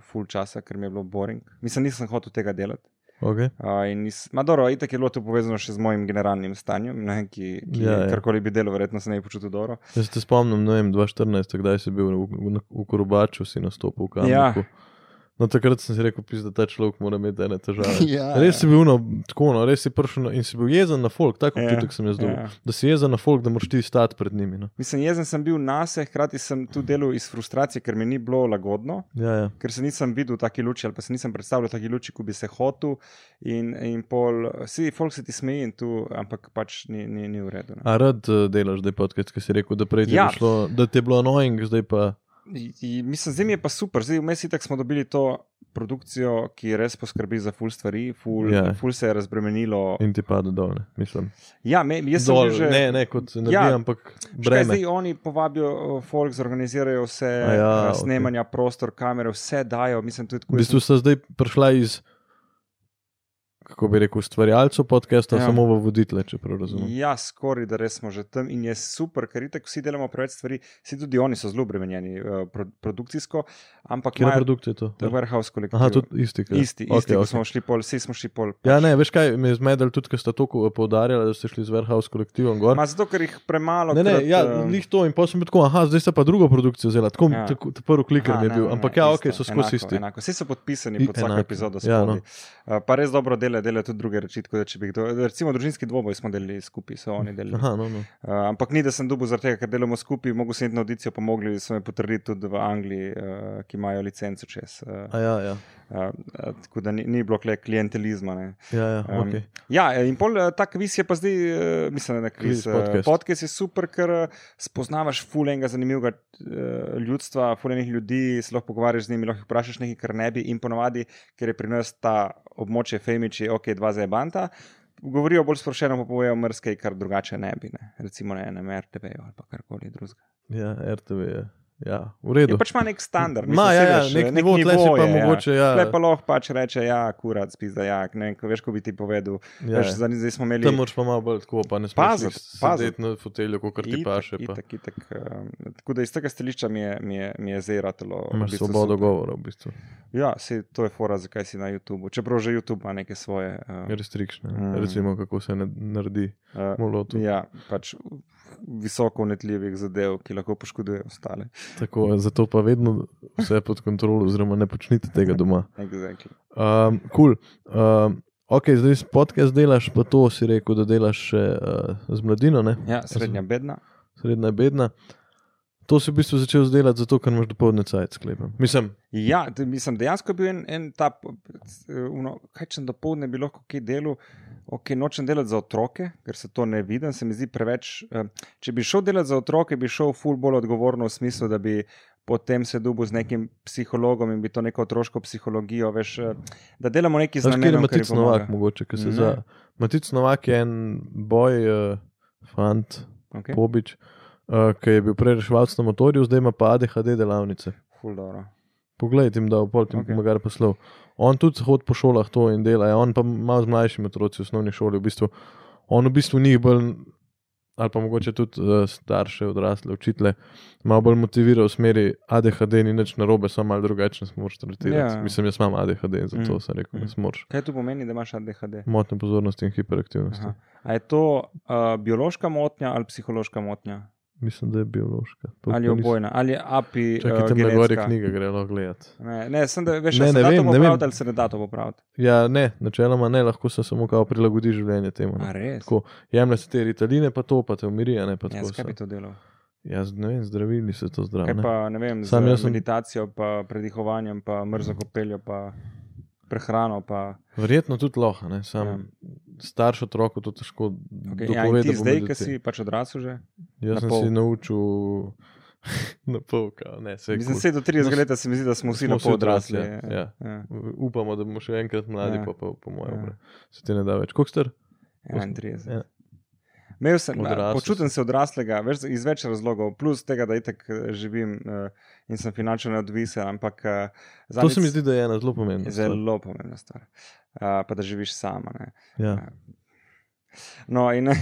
S1: full časa, ker mi je bilo boring. Mislim, nisem hotel tega delati.
S2: Okay.
S1: Uh, in nis, ma dobro, itak je bilo to povezano še z mojim generalnim stanjem, ne, ki, ki
S2: Ja,
S1: ja,
S2: ja.
S1: je, karkoli bi delal, verjetno se ne bi počutil dobro.
S2: Jaz se spomnim, ne vem, 2014, kdaj si bil v, v, v Korobaču, si nastopil v Kamniku. Ja. No, takrat sem si rekel, pis, da ta človek mora imeti ene težave.
S1: Ja,
S2: Res si bil no, tako, no, res si prišel na, in si bil jezen na folk, tako
S1: Ja,
S2: občutek sem jaz dobil.
S1: ja.
S2: Da si jezen na folk, da moraš ti stati pred njimi. No.
S1: Mislim, jezen sem bil na se, hkrati sem tu delal iz frustracije, ker mi ni bilo lagodno.
S2: Ja, ja.
S1: Ker se nisem videl v taki luči, ali pa se nisem predstavljal v taki luči, kot bi se hotel. In, in pol, vsi, folk se ti smeji, in tu, ampak pač ni, ni, ni v redu. ne.
S2: A rad eh, delaš zdaj podcast, ki si rekel, da prej ti je
S1: Ja.
S2: bilo šlo, da ti je bilo annoying, zdaj pa.
S1: I- i- Mislim, zdaj mi je pa super, zdaj vmes itak smo dobili to produkcijo, ki res poskrbi za ful stvari, ful,
S2: Ja.
S1: yeah. ful se je razbremenilo.
S2: In ti pade dol, ne, mislim.
S1: Ja, me, jaz sem
S2: Dol,
S1: bil že.
S2: ne, ne kot energija, ja,
S1: Ja.
S2: ampak
S1: Škaj,
S2: breme.
S1: zdaj oni povabijo, eh, folk zorganizirajo vse
S2: A ja,
S1: ja,
S2: okej.
S1: snemanja, okay. prostor, kamere, vse dajo. Mislim, tudi,
S2: V bistvu sta zdaj prišla iz, kako bi rekel, ustvarjalcev podcasta, ja.
S1: Ja.
S2: samo v voditele, če prav razumem.
S1: Ja, skoraj da res smo že tam in je super, ker itak vsi delamo preveč stvari, vsi tudi oni so zelo obremenjeni eh, pro, produkcijsko, ampak
S2: Kje
S1: imajo
S2: produkt je to? Ja.
S1: to warehouse kolektiv.
S2: Aha, tudi isti. kaj?
S1: Isti,
S2: Okej,
S1: isti okay,
S2: okej.
S1: okay. smo šli pač. pol, vsi smo šli pol.
S2: Ja, ne, veš kaj, me je zmedel tudi, ker sta tako poudarjala, da ste šli z Warehouse kolektivom gor.
S1: Ma, zato, ker jih premalo.
S2: Ne, ne,
S1: krat,
S2: ja,
S1: eh,
S2: njih to in potem sem bil tako, aha, zdaj sta pa drugo produkcijo vzela, tako, ja.
S1: Ja.
S2: tako ta prvi kliker
S1: Aha,
S2: mi je
S1: ne,
S2: bil,
S1: ne, ne,
S2: ampak ja, ok,
S1: isto,
S2: so skozi
S1: enako,
S2: isti.
S1: Enako. Vsi so podpisani
S2: I-
S1: pod vsako
S2: enako,
S1: epizodo.
S2: ja,
S1: Ja, no. Pa res dobro delajo, delajo tudi druge reči. tako da če bi Kdo, recimo, družinski dvoboj smo delili skupaj, so oni delili.
S2: Aha, no, no.
S1: Uh, ampak ni, da sem dubo zaradi tega, ker delamo skupaj, mogo sem iti na audicijo, pomogli so me potrditi tudi v Angliji, uh, ki imajo licenco čez. Uh,
S2: A, ja, ja,
S1: uh, uh, tako da ni, ni bilo kle klientelizma. Ne.
S2: ja, ja
S1: Um,
S2: um, ok.
S1: Ja, in pol eh, ta kviz je pa zdaj, eh, mislim, da je kviz.
S2: Kviz, podcast.
S1: Podcast. podcast je super, ker eh, spoznavaš fulenga zanimivega eh, ljudstva, fulenih ljudi, se lahko pogovarjaš z njimi, lahko jih vprašaš nekaj, kar ne bi in ponovadi, ker je pri nas ta območje Femiči, ok, dva zajebanta. Govorijo bolj sprošeno, pa povejo mrzke, kar drugače ne bi, ne? recimo na enem RTV-ju ali pa karkoli drugega.
S2: Ja, RTV je. Ja, v redu.
S1: Je pač ima nek standard, eh,
S2: Ma, ja, ja, nek nivo, tle si pa
S1: je,
S2: mogoče, ja.
S1: Tle pa lahko pač reče, ja, kurat, spizda, ja, ne vem, ko veš, ko bi ti povedal.
S2: ja,
S1: Ja, veš,
S2: ja.
S1: zdaj, zdaj smo imeli
S2: Tam moraš pa malo bolj tako, pa ne smeš
S1: Paziti,
S2: sedeti
S1: paziti.
S2: na fotelju, kot ti
S1: Itak,
S2: paše. Pa.
S1: Itak, itak, um, tako da iz tega stališča mi je, mi je, mi je zeratelo.
S2: Imaš svobodo govora, v bistvu.
S1: Ja, sej, to je fora, zakaj si na YouTubu. Čeprav že YouTube ima neke svoje. Um,
S2: Restrikšne, mm.
S1: Mm.
S2: recimo, kako se ne, naredi
S1: uh,
S2: molotu. Ja.
S1: ja, pač visoko unetljivih zadev, ki lahko poškodujejo ostale.
S2: Tako, zato pa vedno vse pod kontrolo, oziroma ne počnite tega doma.
S1: Exactly.
S2: Um, cool. um, ok, zdaj s- podcast delaš, pa to si rekel, da delaš še uh, z mladino, ne?
S1: Ja, srednja bedna.
S2: srednja bedna. To si v bistvu začel delati zato, ker imaš dopoledne cajt sklepam. Mislim,
S1: Ja, te- mislim, dejansko je bil en, en ta, p- c- uno, kaj če dopoledne bi lahko kaj delal, ok, nočem delati za otroke, ker se to ne vidim, se mi zdi preveč. eh, Če bi šel delati za otroke, bi šel ful bolj odgovorno v smislu, da bi potem se dubu z nekim psihologom in bi to neko otroško psihologijo, veš, eh, da delamo nekaj
S2: Znaš, kje je
S1: znamenja.
S2: Matic Novak, mogoče, ki se
S1: Ne.
S2: za. Matic Novak je en boj, uh, fant,
S1: Okay.
S2: pobič, uh, ki je bil prej reševalc na motorju, zdaj ima pa ADHD delavnice.
S1: Ful dobro.
S2: Poglej, ti jim dal pol, ti jim
S1: Ok.
S2: okay. pomagal poslov. On tudi hod po šolah to in dela, ja, on pa malo z mlajšimi otroci v osnovni šoli, v bistvu, on v bistvu njih bolj, ali pa mogoče tudi uh, starše, odrasle učitele, malo bolj motivira v smeri ADHD, ni nič narobe, samo malo drugače nas moraš tretirati.
S1: Ja.
S2: Mislim, jaz imam ADHD in zato
S1: Mm,
S2: mm. sem rekel,
S1: mm.
S2: nas moraš
S1: Kaj to pomeni, da imaš ADHD?
S2: motnje pozornosti in hiperaktivnosti.
S1: eh, Aha. A je to uh, biološka motnja ali psihološka motnja?
S2: Mislim, da je biološka. To
S1: ali
S2: pa nisem-
S1: obojna, ali api.
S2: Čakaj,
S1: eh,
S2: tam na gori
S1: genetska.
S2: knjige gre lahko gledati.
S1: Ne, ne, sem da veš,
S2: Ne,
S1: ne, se ne
S2: ne
S1: da
S2: vem,
S1: to
S2: ne vem.
S1: popraviti ali se ne da to popraviti.
S2: Ja, ne, načeloma ne, lahko se samo kao prilagodi življenje temu.
S1: A res?
S2: Tako, jemlje se te ritaline, pa to, pa te umiri, a ne pa
S1: Jaz
S2: tako.
S1: kaj bi
S2: se-
S1: to delal?
S2: Ja, z- ne vem, zdravili se to
S1: Kaj
S2: zdravljenje.
S1: pa ne vem,
S2: Ja, Sam jaz
S1: z
S2: sem- Mhm.
S1: meditacijo, pa predihovanjem, pa mrzokopeljo, pa prehrano, pa
S2: Verjetno tudi loha, ne, sam ja. starš otroku to težko
S1: okay,
S2: okay,
S1: ja, in
S2: dopovedati.
S1: ti zdaj, ki si pač odrasel že.
S2: Jaz
S1: na
S2: sem
S1: pol.
S2: si naučil na pol, kao, ne, se je.
S1: Mislim,
S2: kul.
S1: se do 30
S2: No,
S1: let se mi zdi, da smo vsi
S2: smo
S1: na
S2: vsi
S1: pol
S2: odrasli,
S1: odrasli.
S2: ja.
S1: Ja. Ja.
S2: Upamo, da bomo še enkrat mladi,
S1: Ja.
S2: pa pa po mojem,
S1: Ja.
S2: ja. se ti ne da več. Koliko star?
S1: 31.
S2: Ja.
S1: Imel sem,
S2: Odrasel
S1: počutim se odraslega več, iz več razlogov, plus tega, da itek eh, živim eh, in sem finančno neodvisen, ampak eh,
S2: To
S1: zadnjič-
S2: se mi zdi, da je ena zelo pomembna. stvar.
S1: zelo pomembna stvar. Uh, pa da živiš sama. Ne?
S2: Ja.
S1: No, in uh,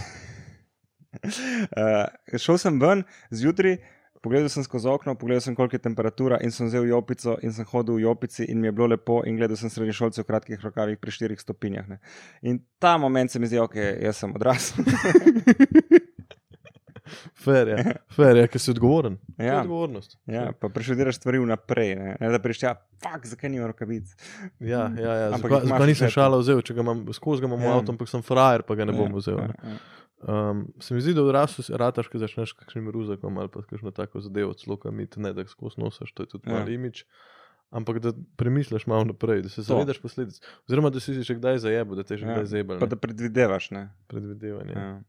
S1: šel sem ven zjutraj, pogledal sem skozi okno, pogledal sem, koliko je temperatura, in sem vzel jopico, in sem hodil v jopici, in mi je bilo lepo, in gledal sem srednješolce v kratkih rokavih pri 4 stopinjah. Ne. In ta moment se mi zdi, ok, jaz sem odrasel.
S2: Fer je, fer je, ja. ker si odgovoren. To je
S1: ja,
S2: Odgovornost.
S1: ja, pa prešudiraš stvari vnaprej, ne, ne da prišče, fuk, zakaj nimam rokavic.
S2: Ja, ja, ja.
S1: Ampak
S2: Ampak
S1: jih imaš
S2: zakaj nisem
S1: v žepu.
S2: šala vzel, če ga imam, skozi ga imam v
S1: Ja.
S2: avtu, ampak sem frajer, pa ga ne bom
S1: Ja,
S2: vzel. ne.
S1: ja, ja.
S2: Um, se mi zdi, da odrasel si rataš, ko začneš s kakšnim ruzakom ali pa s kakšno tako zadevo, celo kamit, ne da skozi nosiš, to je tudi
S1: Ja.
S2: mali imič. Ampak da premisliš malo naprej, da se
S1: To.
S2: zavedaš posledic. Oziroma, da si si že kdaj zajebo, da te že
S1: Ja,
S2: kdaj zebel.
S1: Pa da predvidevaš. Ne.
S2: Predvidevanje.
S1: Ja.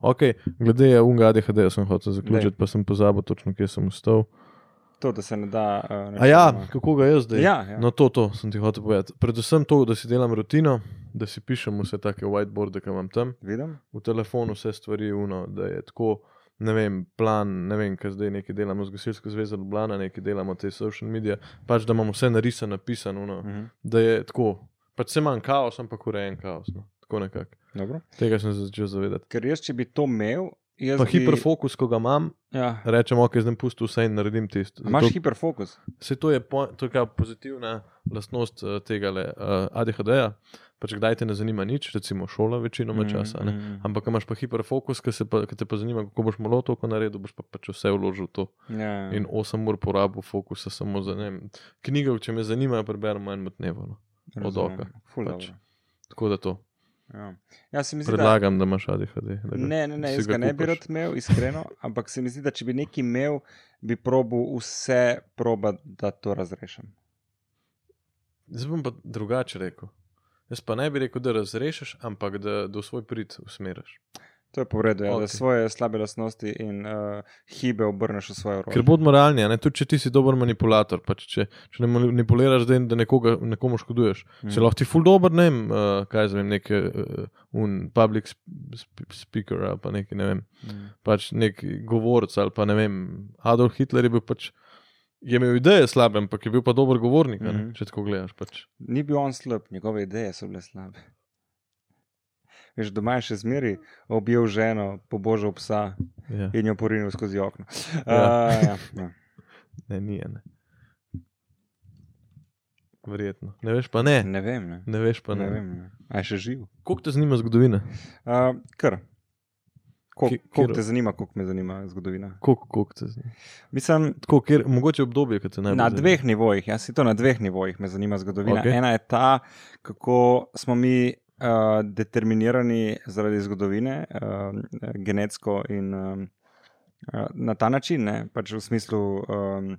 S2: Ok, glede ja, unga ADHD sem hotel zaključiti, pa sem pozabil točno, kje sem ustal.
S1: To, da se ne da. Uh,
S2: A ja, kako ga jaz zdaj?
S1: Ja, ja.
S2: No, to, to sem ti hotel povedati. Predvsem to, da si delam rutino, da si pišem vse take whiteboarde, ki imam tam,
S1: Vidim?
S2: v telefonu vse stvari, uno, da je tako, ne vem, plan, ne vem, kaj zdaj neki delamo z Gasilsko zvezo Ljubljana, neki delamo te social medije, pač da imam vse narisano, napisano, uno,
S1: Mhm.
S2: da je tako. Pač se manj kaos, ampak urejen kaos. No. Tako nekako.
S1: Dobro.
S2: Tega sem se začel zavedati.
S1: Ker jaz, če bi to imel, jaz
S2: Pa
S1: bi...
S2: hiperfokus, ko ga imam,
S1: Ja.
S2: rečem, ok, zdaj pusti vse in naredim tisto.
S1: A Imaš
S2: Zato-
S1: hiperfokus.
S2: Vse to je, po, to je kao pozitivna lastnost eh, tega ADHD-ja. Pač kdaj te ne zanima nič, recimo šola, večinoma mm, časa. Ne?
S1: Mm,
S2: Ampak imaš pa hiperfokus, ki, se pa, ki te pa zanima, kako boš malo to naredil, boš pa pač vse vložil v to.
S1: mm. Ja, ja.
S2: In 8 ur porabo fokusa samo za ne. vem, Knjige, če me zanima, preberem manj od dneva. No. od
S1: razumem.
S2: oka,
S1: Ful
S2: pač.
S1: dobro.
S2: Tako da to.
S1: Ja. ja, se mi zdi, da...
S2: Predlagam, da imaš ADHD. Da ga-
S1: Ne, ne,
S2: si
S1: ne, jaz
S2: ga
S1: ga ne bi
S2: kupaš.
S1: rad imel, iskreno, ampak se mi zdi, da če bi nekaj imel, bi probu vse proba, da to razrešim.
S2: Zdaj bom pa drugače rekel. Jaz pa ne bi rekel, da razrešiš, ampak da, da v svoj prid usmeriš.
S1: To je po redu, ja, okay. da
S2: Okej.
S1: svoje slabe lastnosti in uh, hibe obrneš v svojo roko.
S2: Ker bodimo realni, a ne, tudi če ti si dober manipulator, pač če, če ne manipuliraš, da, da nekoga, nekomu škoduješ.
S1: Mhm.
S2: Mm. Se lahko ti ful dober, ne vem, uh, kaj zvem, nek uh, un public sp- sp- speaker ali pa nek, ne vem,
S1: Mm.
S2: pač nek govorec ali pa ne vem. Adolf Hitler je bil pač, je imel ideje slabe, ampak je bil pa dober govornik, mm -hmm.
S1: Mhm.
S2: če tako gledaš. Pač.
S1: Ni bil on slab, njegove ideje so bile slabe. Veš, doma je še zmeri objel ženo, pobožal psa
S2: Ja,
S1: in jo porinil skozi okno.
S2: Ja.
S1: Ja. Uh, ja, ja.
S2: ne, ni ene. Verjetno. Ne veš pa ne.
S1: Ne vem, ne.
S2: Ne veš pa
S1: ne
S2: ne.
S1: vem, ne. A je še živ?
S2: Koliko te zanima zgodovina?
S1: Uh, kar.
S2: Ki-
S1: Koliko
S2: katero?
S1: te zanima, koliko me zanima zgodovina?
S2: Koliko, koliko te zanima?
S1: Mislim,
S2: Tako, kjer, mogoče obdobje, ki te najbolj
S1: na
S2: zanima.
S1: dveh nivojih, jaz si to na dveh nivojih me zanima zgodovina.
S2: Okej.
S1: Okay. Ena je ta, kako smo mi uh, determinirani zaradi zgodovine, uh, genetsko in um, uh, na ta način, ne? pač v smislu um,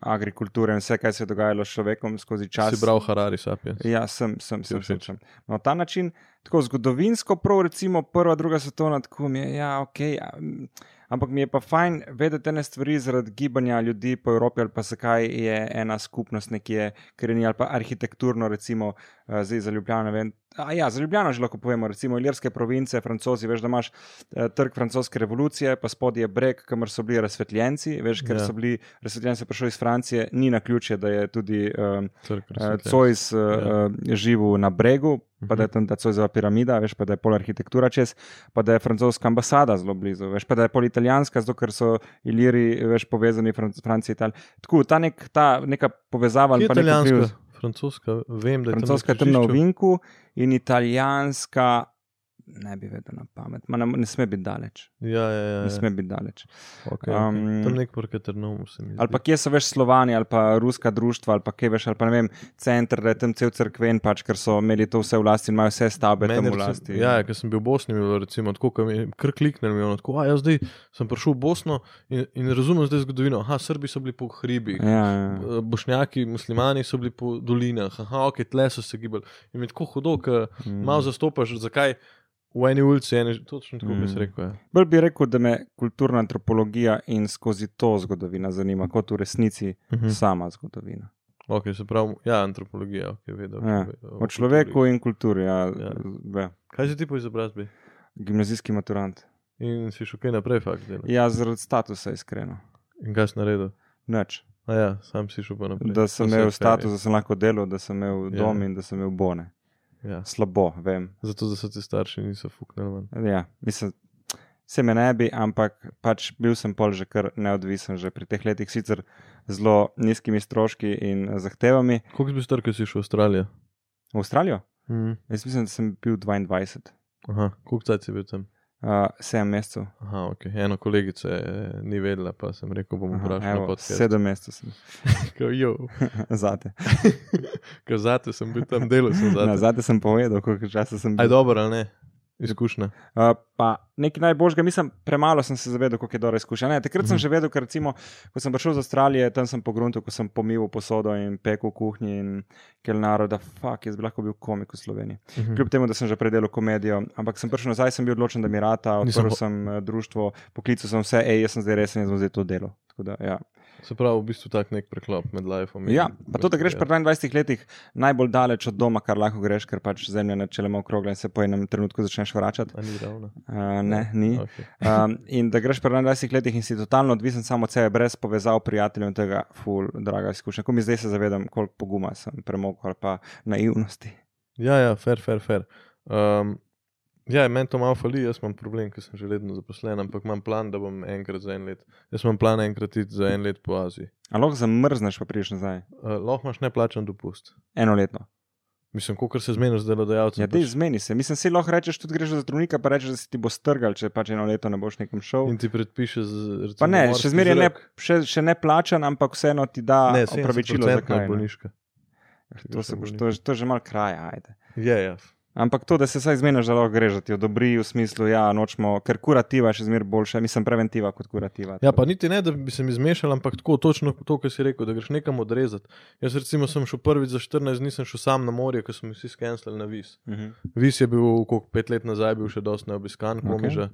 S1: agrikulture in vse, kaj se je dogajalo s človekom skozi čas.
S2: Si bral Harari, sapiens.
S1: Ja, sem, sem,
S2: Ti je
S1: sem, sem,
S2: všeč?
S1: sem. Na ta način, tako zgodovinsko, prav recimo prva, druga svetovna, tako mi je, ja, ok. ja, mm, Ampak mi je pa fajn vedeti ene stvari zaradi gibanja ljudi po Evropi ali pa zakaj je ena skupnost nekje, ker ni ali pa arhitekturno, recimo, eh, zdaj za Ljubljano. ne Vem, a ja, za Ljubljano že lahko povemo, recimo Ilirske province, francozi, veš, da imaš eh, trg francoske revolucije, pa spodaj je breg, kamor so bili razsvetljenci, veš, ker
S2: Ja.
S1: so bili razsvetljenci prišli iz Francije, ni na ključje, da je tudi. Um,
S2: Crkva.
S1: Cojs uh,
S2: Ja. Mhm.
S1: živel na bregu, pa da je tam ta Cojzova piramida, veš pa da je pol arhitektura čez, pa da je francoska ambasada zelo blizu, veš pa da je pol italijanska, zato ker so Iliri veš povezani Fran- Francija in Italija. Tako ta, nek, ta neka povezava ali pa nek vpliv-
S2: Italijanska, francoska, vem, da je tam na
S1: Francoska je tam na
S2: križišču.
S1: ovinku in italijanska Ne bi vedel na pamet, Ma ne, ne sme biti daleč.
S2: Ja, ja, ja.
S1: Ne sme biti daleč.
S2: Okay, okay.
S1: Um,
S2: Tam nek prekatrnov se mi zdi.
S1: Ali pa kje so več slovani, ali pa ruska društva, ali pa kje veš, ali pa ne vem, center, da je tam cel crkven, pač, ker so imeli to vse v lasti in imajo vse stavbe tam
S2: Meni
S1: v
S2: recimo-
S1: lasti.
S2: Ja, ker sem bil v Bosni, je bilo recimo, tako, ko mi je kar kliknil, mi je ono tako, a jaz zdaj sem prišel v Bosno in, in razumem zdaj zgodovino. Aha, Srbi so bili po hribih,
S1: ja, ja.
S2: eh, bošnjaki, muslimani so bili po dolinah, aha, ok, tle so se gibali. In mi je tako hudo, ker
S1: Mm.
S2: malo zastopaš, zakaj v eni ulici, ene, točno tako bi
S1: Mm.
S2: se rekel. Ja.
S1: Bolj bi rekel, da me kulturna antropologija in skozi to zgodovina zanima, kot v resnici
S2: Mhm.
S1: sama zgodovina.
S2: Ok, se pravi, ja, antropologija, ok, vedel.
S1: Ja,
S2: ki ve-
S1: O človeku in kulturi, ja,
S2: Ja.
S1: ja.
S2: Kaj si ti po izobrazbi?
S1: gimnazijski maturant.
S2: In si šel kaj naprej, fakt. Delal.
S1: Ja, zaradi statusa, iskreno.
S2: In kaj si naredil?
S1: Noč.
S2: A ja, sam si šel pa naprej.
S1: Da sem
S2: To se
S1: imel
S2: je fair,
S1: status,
S2: ja.
S1: da sem lahko delal, da sem imel
S2: Ja.
S1: dom in da sem imel bone.
S2: Ja.
S1: Slabo, vem.
S2: Zato, da so ti starši niso fuknili ven.
S1: Ja, mislim, se me ne bi, ampak pač bil sem pol že kar neodvisen, že pri teh letih sicer zelo nizkimi stroški in zahtevami.
S2: Koliko si bil star, ko si šel v Avstralijo?
S1: V Avstralijo?
S2: Mm.
S1: Jaz mislim, da sem bil 22,
S2: Aha, koliko cajt si bil tam?
S1: uh, 7 mesecev.
S2: Aha, ok. Eno kolegico je, ni vedela, pa sem rekel, bom vprašal.
S1: evo,
S2: Aha,
S1: sedem mesecev sem zate.
S2: Kazate sem bil tam, delal sem
S1: Na,
S2: zadnji.
S1: zate sem povedal, koliko časa sem
S2: Aj
S1: bil.
S2: dobro, ali ne? Izkušnja.
S1: Uh, pa nekaj najboljšega, mislim, premalo sem se zavedal, kako je dobra izkušnja. Ne, takrat sem
S2: Mhm.
S1: že vedel, ker recimo, ko sem prišel iz Avstralije, tam sem pogruntil, ko sem pomival posodo in pekel v kuhinji in kelnaro, da fuck, jaz bi lahko bil komik v Sloveniji.
S2: Mhm.
S1: Kljub temu, da sem že predelal komedijo, ampak sem prišel nazaj, sem bil odločen, da mi rata,
S2: Nisem
S1: odprl
S2: ho-
S1: sem eh, društvo, poklical sem vse, hej, jaz sem zdaj resen, jaz bom zdaj to delal. Tako Da, ja.
S2: Se pravi, v bistvu tak nek preklop med lifeom. in-
S1: ja, pa to, da greš
S2: Ja.
S1: pri 22 letih najbolj daleč od doma, kar lahko greš, ker pač zemlja načeloma okrogla in se po enem trenutku začneš vračati.
S2: A ni ravno.
S1: Uh, ne, ni.
S2: Okay.
S1: Um, in da greš pri 21 letih in si totalno odvisen samo od sebe, brez povezav prijateljev in tega, ful, draga izkušnja. Ko mi zdaj se zavedam, koliko poguma sem premogel ali pa naivnosti.
S2: Ja, ja, fair, fair, fair. Um, ja, meni to malo fali, jaz imam problem, ker sem že letno zaposlen, ampak imam plan, da bom enkrat za en let. Jaz imam plan enkrat iti za en let po Aziji.
S1: A lahko zamrzneš, pa prideš nazaj.
S2: Uh, lahko imaš neplačen dopust.
S1: Enoletno.
S2: Mislim, koliko se zmeniš z delodajalcem. pač,
S1: Ja, dej, zmeni se. Mislim, si lahko rečeš, tudi greš za zdravnika, pa rečeš, da si ti bo strgal, če pač eno leto ne boš nekam šel.
S2: in ti predpiše, z, recimo,
S1: Pa ne,
S2: morski
S1: še zmeraj ne,
S2: zrak.
S1: še, še ne plačan, ampak vseeno ti da
S2: ne,
S1: opravičilo za
S2: 70% je
S1: kaj. ne.
S2: bolniška.
S1: To, se boš, to, je- to je že mal kraja, ajde.
S2: Ja, ja.
S1: Ampak to, da se vsaj zmeniš, da lahko greš, da ti odobri v smislu, ja, nočemo, ker kurativa je še zmeraj boljša, Ja, mislim, preventiva kot kurativa.
S2: Ja, pa niti ne, da bi se mi zmešal, ampak tako točno to, kar si rekel, da greš nekam odrezati. Jaz recimo sem šel prvič za 14 dni, sem šel sam na morje, ker smo vsi skenslali na vis.
S1: Mhm.
S2: Vis je bil, koliko pet let nazaj, bil še dosti neobiskan,
S1: Okej.
S2: komi že.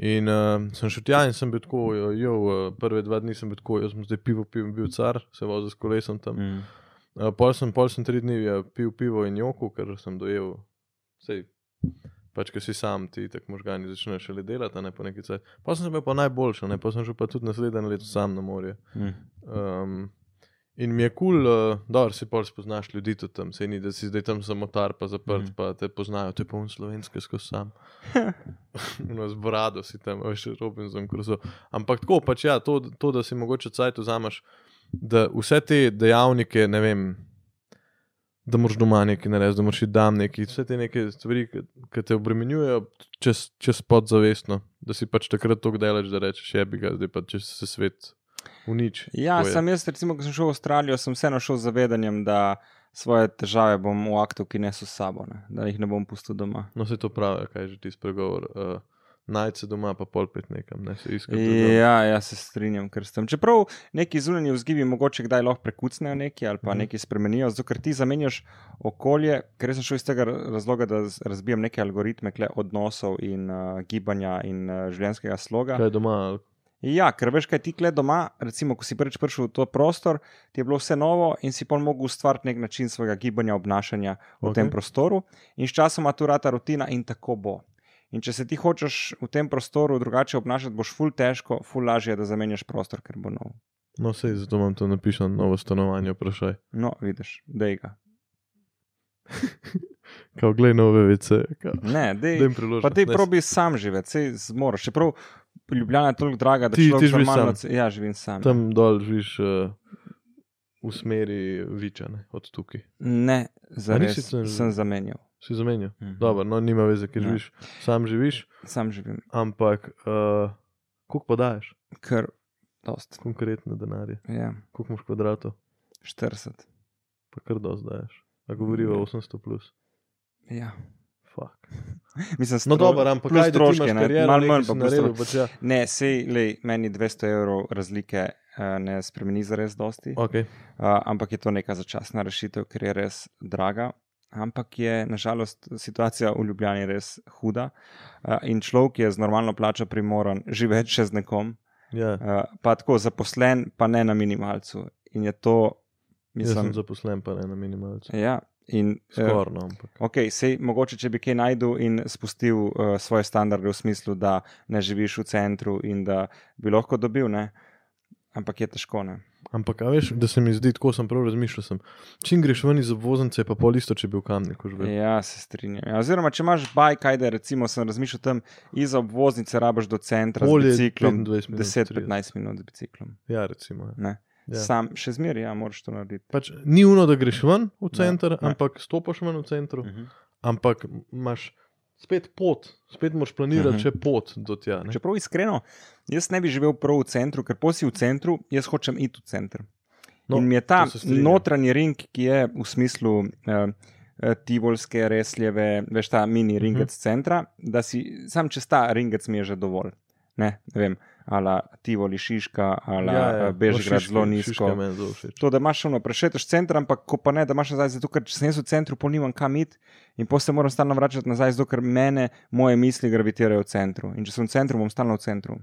S2: In uh, sem šel tja in sem bil tako, jo, jo, eh, prve dva dni sem bil tako, jaz sem zdaj pivo pil, bil car, se vozil s kolesom tam.
S1: Mm.
S2: Uh, pol, sem, pol sem tri dni eh, pil pivo in joko, ker sem dojel. Sej, pač, ki si sam, ti tako možgani začneš šele delati, a ne po neki caj. Pa sem se bil pa najboljši, ne pa sem šel pa tudi naslednje leto sam na morje.
S1: Mm.
S2: Um, in mi je kul, cool, uh, da si pol spoznaš ljudi tudi tam, se ni, da si zdaj tam samotar, pa zaprt,
S1: Mhm.
S2: pa te poznajo, te pa un slovenski skozi sam. No, z brado si tam, a veš, Robinson Crusoe. Ampak tako pač ja, to, to da si mogoče cajt vzameš, da vse te dejavnike, ne vem, da moraš doma nekaj narediti, da moraš iti dam nekaj, vse te neke stvari, ki te obremenjujejo, čez, čez podzavestno, da si pač takrat to delaš, da rečeš, je bi ga, zdaj pa če se svet uniči.
S1: Ja,
S2: to je."
S1: sem jaz, recimo, ko sem šel v Avstralijo, sem vseeno šel z zavedanjem, da svoje težave bom v aktu, ki ne so s sabo, ne? da jih ne bom pustil doma.
S2: No, se to pravi, kaj je že ti spregovor. Uh, Najti se doma, pa pol pet nekam, ne se iskati.
S1: Ja, ja, se strinjam, ker sem. Čeprav neki zunanji vzgibi mogoče kdaj lahko prekucnejo neki ali pa
S2: Mhm.
S1: nekaj spremenijo, zato ker ti zamenjaš okolje, ker jaz sem šel iz tega razloga, da z- razbijam neke algoritme tule odnosov in uh, gibanja in uh, življenjskega sloga.
S2: Kaj doma, ali
S1: Ja, ker veš, kaj ti kle doma, recimo, ko si prvič prišel v to prostor, ti je bilo vse novo in si pol mogel ustvariti nek način svojega gibanja, obnašanja v
S2: Okej.
S1: okay. tem prostoru, in sčasoma tu rata rutina in tako bo. In če se ti hočeš v tem prostoru drugače obnašati, boš ful težko, ful lažje, da zamenjaš prostor, ker bo nov.
S2: No, sej, zato imam to napisano, novo stanovanje, vprašaj.
S1: No, vidiš, dej ga.
S2: Kao, glej, nove vice.
S1: Ne,
S2: Da
S1: dej.
S2: jim priložim.
S1: Pa ti
S2: Ne,
S1: probi sam živeti, sej zmoriš. Čeprav Ljubljana je toliko draga, da
S2: Ti- ti
S1: človek
S2: živiš
S1: normalno.
S2: sam?
S1: Ja, živim sam.
S2: Tam dol živiš uh, v smeri vičane, od tukaj.
S1: Ne,
S2: A
S1: zares
S2: nisi tam-
S1: sem zamenjal.
S2: si zamenjal.
S1: Mhm.
S2: Dobro, no, nima veze, ker
S1: Ja.
S2: živiš, sam živiš,
S1: Sam živim
S2: ampak uh, koliko pa daješ,
S1: kar dost.
S2: konkretne denarje,
S1: Ja,
S2: koliko imaš kvadratov,
S1: 40.
S2: pa kar dosti daješ. A govorijo
S1: Ja.
S2: 800 plus.
S1: Ja.
S2: Fuck.
S1: Mislim,
S2: No,
S1: stro-
S2: dobro, ampak
S1: plus
S2: kaj
S1: stroške,
S2: troške,
S1: ne,
S2: kariero,
S1: malo
S2: nekaj
S1: manj
S2: si
S1: pa plus
S2: naredil,
S1: stroške.
S2: pač ja.
S1: Ne, sej, lej, meni 200 evrov razlike eh, ne spremeni za res dosti, uh,
S2: okay.
S1: ampak je to neka začasna rešitev, ker je res draga. Ampak je nažalost situacija v Ljubljani res huda eh, in človek je z normalno plačo primoran živeti še z nekom,
S2: ja.
S1: eh, pa tako zaposlen, pa ne na minimalcu. In je to,
S2: Jaz sem
S1: mislim,
S2: zaposlen, pa ne na minimalcu.
S1: ja, in, eh,
S2: Skorno, ampak.
S1: Ok, sej, mogoče, če bi kaj najdel in spustil uh, svoje standarde v smislu, da ne živiš v centru in da bi lahko dobil, ne? ampak je težko. Ne?
S2: Ampak, a veš, da se mi zdi, tako sem prav razmišljal. Sem. Čim greš ven iz obvoznice, je pa pol isto, če bi v kamniku živel.
S1: Ja, se strinjam. Ja, oziroma, če imaš baj, kaj da recimo, sem razmišljal tam iz obvoznice, rabaš do centra
S2: Bolje
S1: z biciklom
S2: 25 minut,
S1: 10-15 minut z biciklom.
S2: Ja, recimo. Ja.
S1: Ne?
S2: Ja.
S1: Ja. Sam še zmeraj, ja, moraš to narediti.
S2: Pač, ni uno, da greš ven v
S1: Ja,
S2: center, ne,
S1: ne.
S2: ne. ampak stopiš ven v centru,
S1: Mhm.
S2: ampak imaš spet pot, spet moraš planirati
S1: Mhm.
S2: še pot do tja. ne.
S1: Čeprav iskreno, jaz ne bi živel prav v centru, ker posi v centru, jaz hočem iti v center. No, in mi je ta
S2: to se strinjam.
S1: notranji ring, ki je v smislu eh, eh, Tivolske, Resljeve, veš ta
S2: Mhm.
S1: mini ringec uh -huh. centra, da si sam čez ta ringec mi je že dovolj. Ne, ne vem, ali Tivoli Šiška, ali ja, ja, Bežigrad
S2: Šiške-
S1: zelo
S2: Šiške
S1: nizko.
S2: meni zelo všeč.
S1: To, da imaš ono, prešeteš center, ampak ko pa ne, da imaš nazaj, zato ker če sem jaz v centru, pa nimam kam iti in potem se moram stalno vračati nazaj, zato ker mene, moje misli gravitirajo v centru. In če sem v centru, bom stalno v centru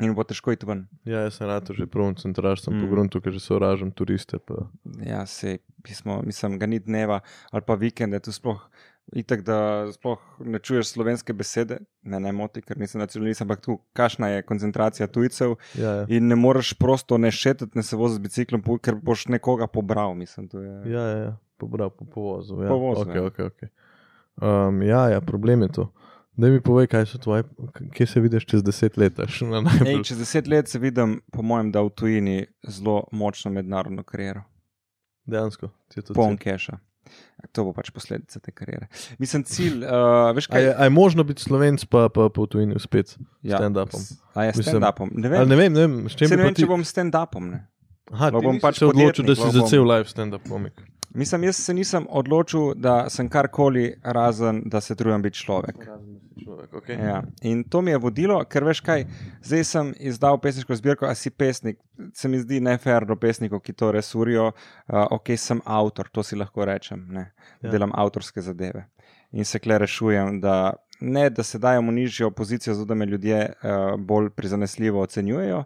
S1: in bo težko iti ven.
S2: Ja, jaz sem rado že pravno centraš, sem mm.
S1: Mm.
S2: pogrom tukaj, že sovražim turiste. Pa.
S1: Ja, sej, pismo, mislim, ga ni dneva ali pa vikende, tu sploh. Itek, da sploh ne čuješ slovenske besede, ne, ne moti, ker nisem nacionalist, ampak tu kašna je koncentracija tujcev
S2: Ja, ja.
S1: in ne moreš prosto ne šetati, ne se voziti z biciklom, po- ker boš nekoga pobral. Mislim, to je.
S2: Ja, ja, ja. pobral po povozu. Ja.
S1: Po vozu,
S2: okay,
S1: ja.
S2: okay, okay. Um, ja, ja, problem je to. Da mi povej, kaj so tvoje, kje se vidiš čez deset let, a še na
S1: Ej,
S2: najbolj.
S1: čez deset let se vidim, po mojem, da v tujini zelo močno mednarodno kariero.
S2: Dejansko ti je to
S1: Poln
S2: cilj.
S1: keša. To bo pač posledica te kariere. Mislim, cilj, uh, veš
S2: A
S1: kaj Ja.
S2: je, a je možno biti slovenc, pa pa po tujini uspet? stand-upom?
S1: A je
S2: Mislim,
S1: stand-upom. Ne
S2: Ali
S1: vem,
S2: Ne vem, ne vem, s čem
S1: Saj ne
S2: bi pa
S1: vem
S2: ti...
S1: če bom stand-upom. ne.
S2: Aha,
S1: No,
S2: ti
S1: bom
S2: nisi
S1: pač
S2: se odločil, da
S1: podjetnik,
S2: si
S1: no,
S2: za
S1: bom-
S2: cel live stand-up komik.
S1: Mislim, jaz se nisem odločil, da sem karkoli, razen da se trudim biti človek.
S2: Človek, okay.
S1: Ja. In to mi je vodilo, ker veš kaj, zdaj sem izdal pesniško zbirko, a si pesnik. Se mi zdi nefer do pesnikov, ki to res urijo. Uh, ok, sem avtor, to si lahko rečem. Ne?
S2: Ja.
S1: Ja. Delam avtorske zadeve in se kle rešujem, da ne, da se dajem v nižjo pozicijo, zato da me ljudje uh, bolj prizanesljivo ocenjujejo,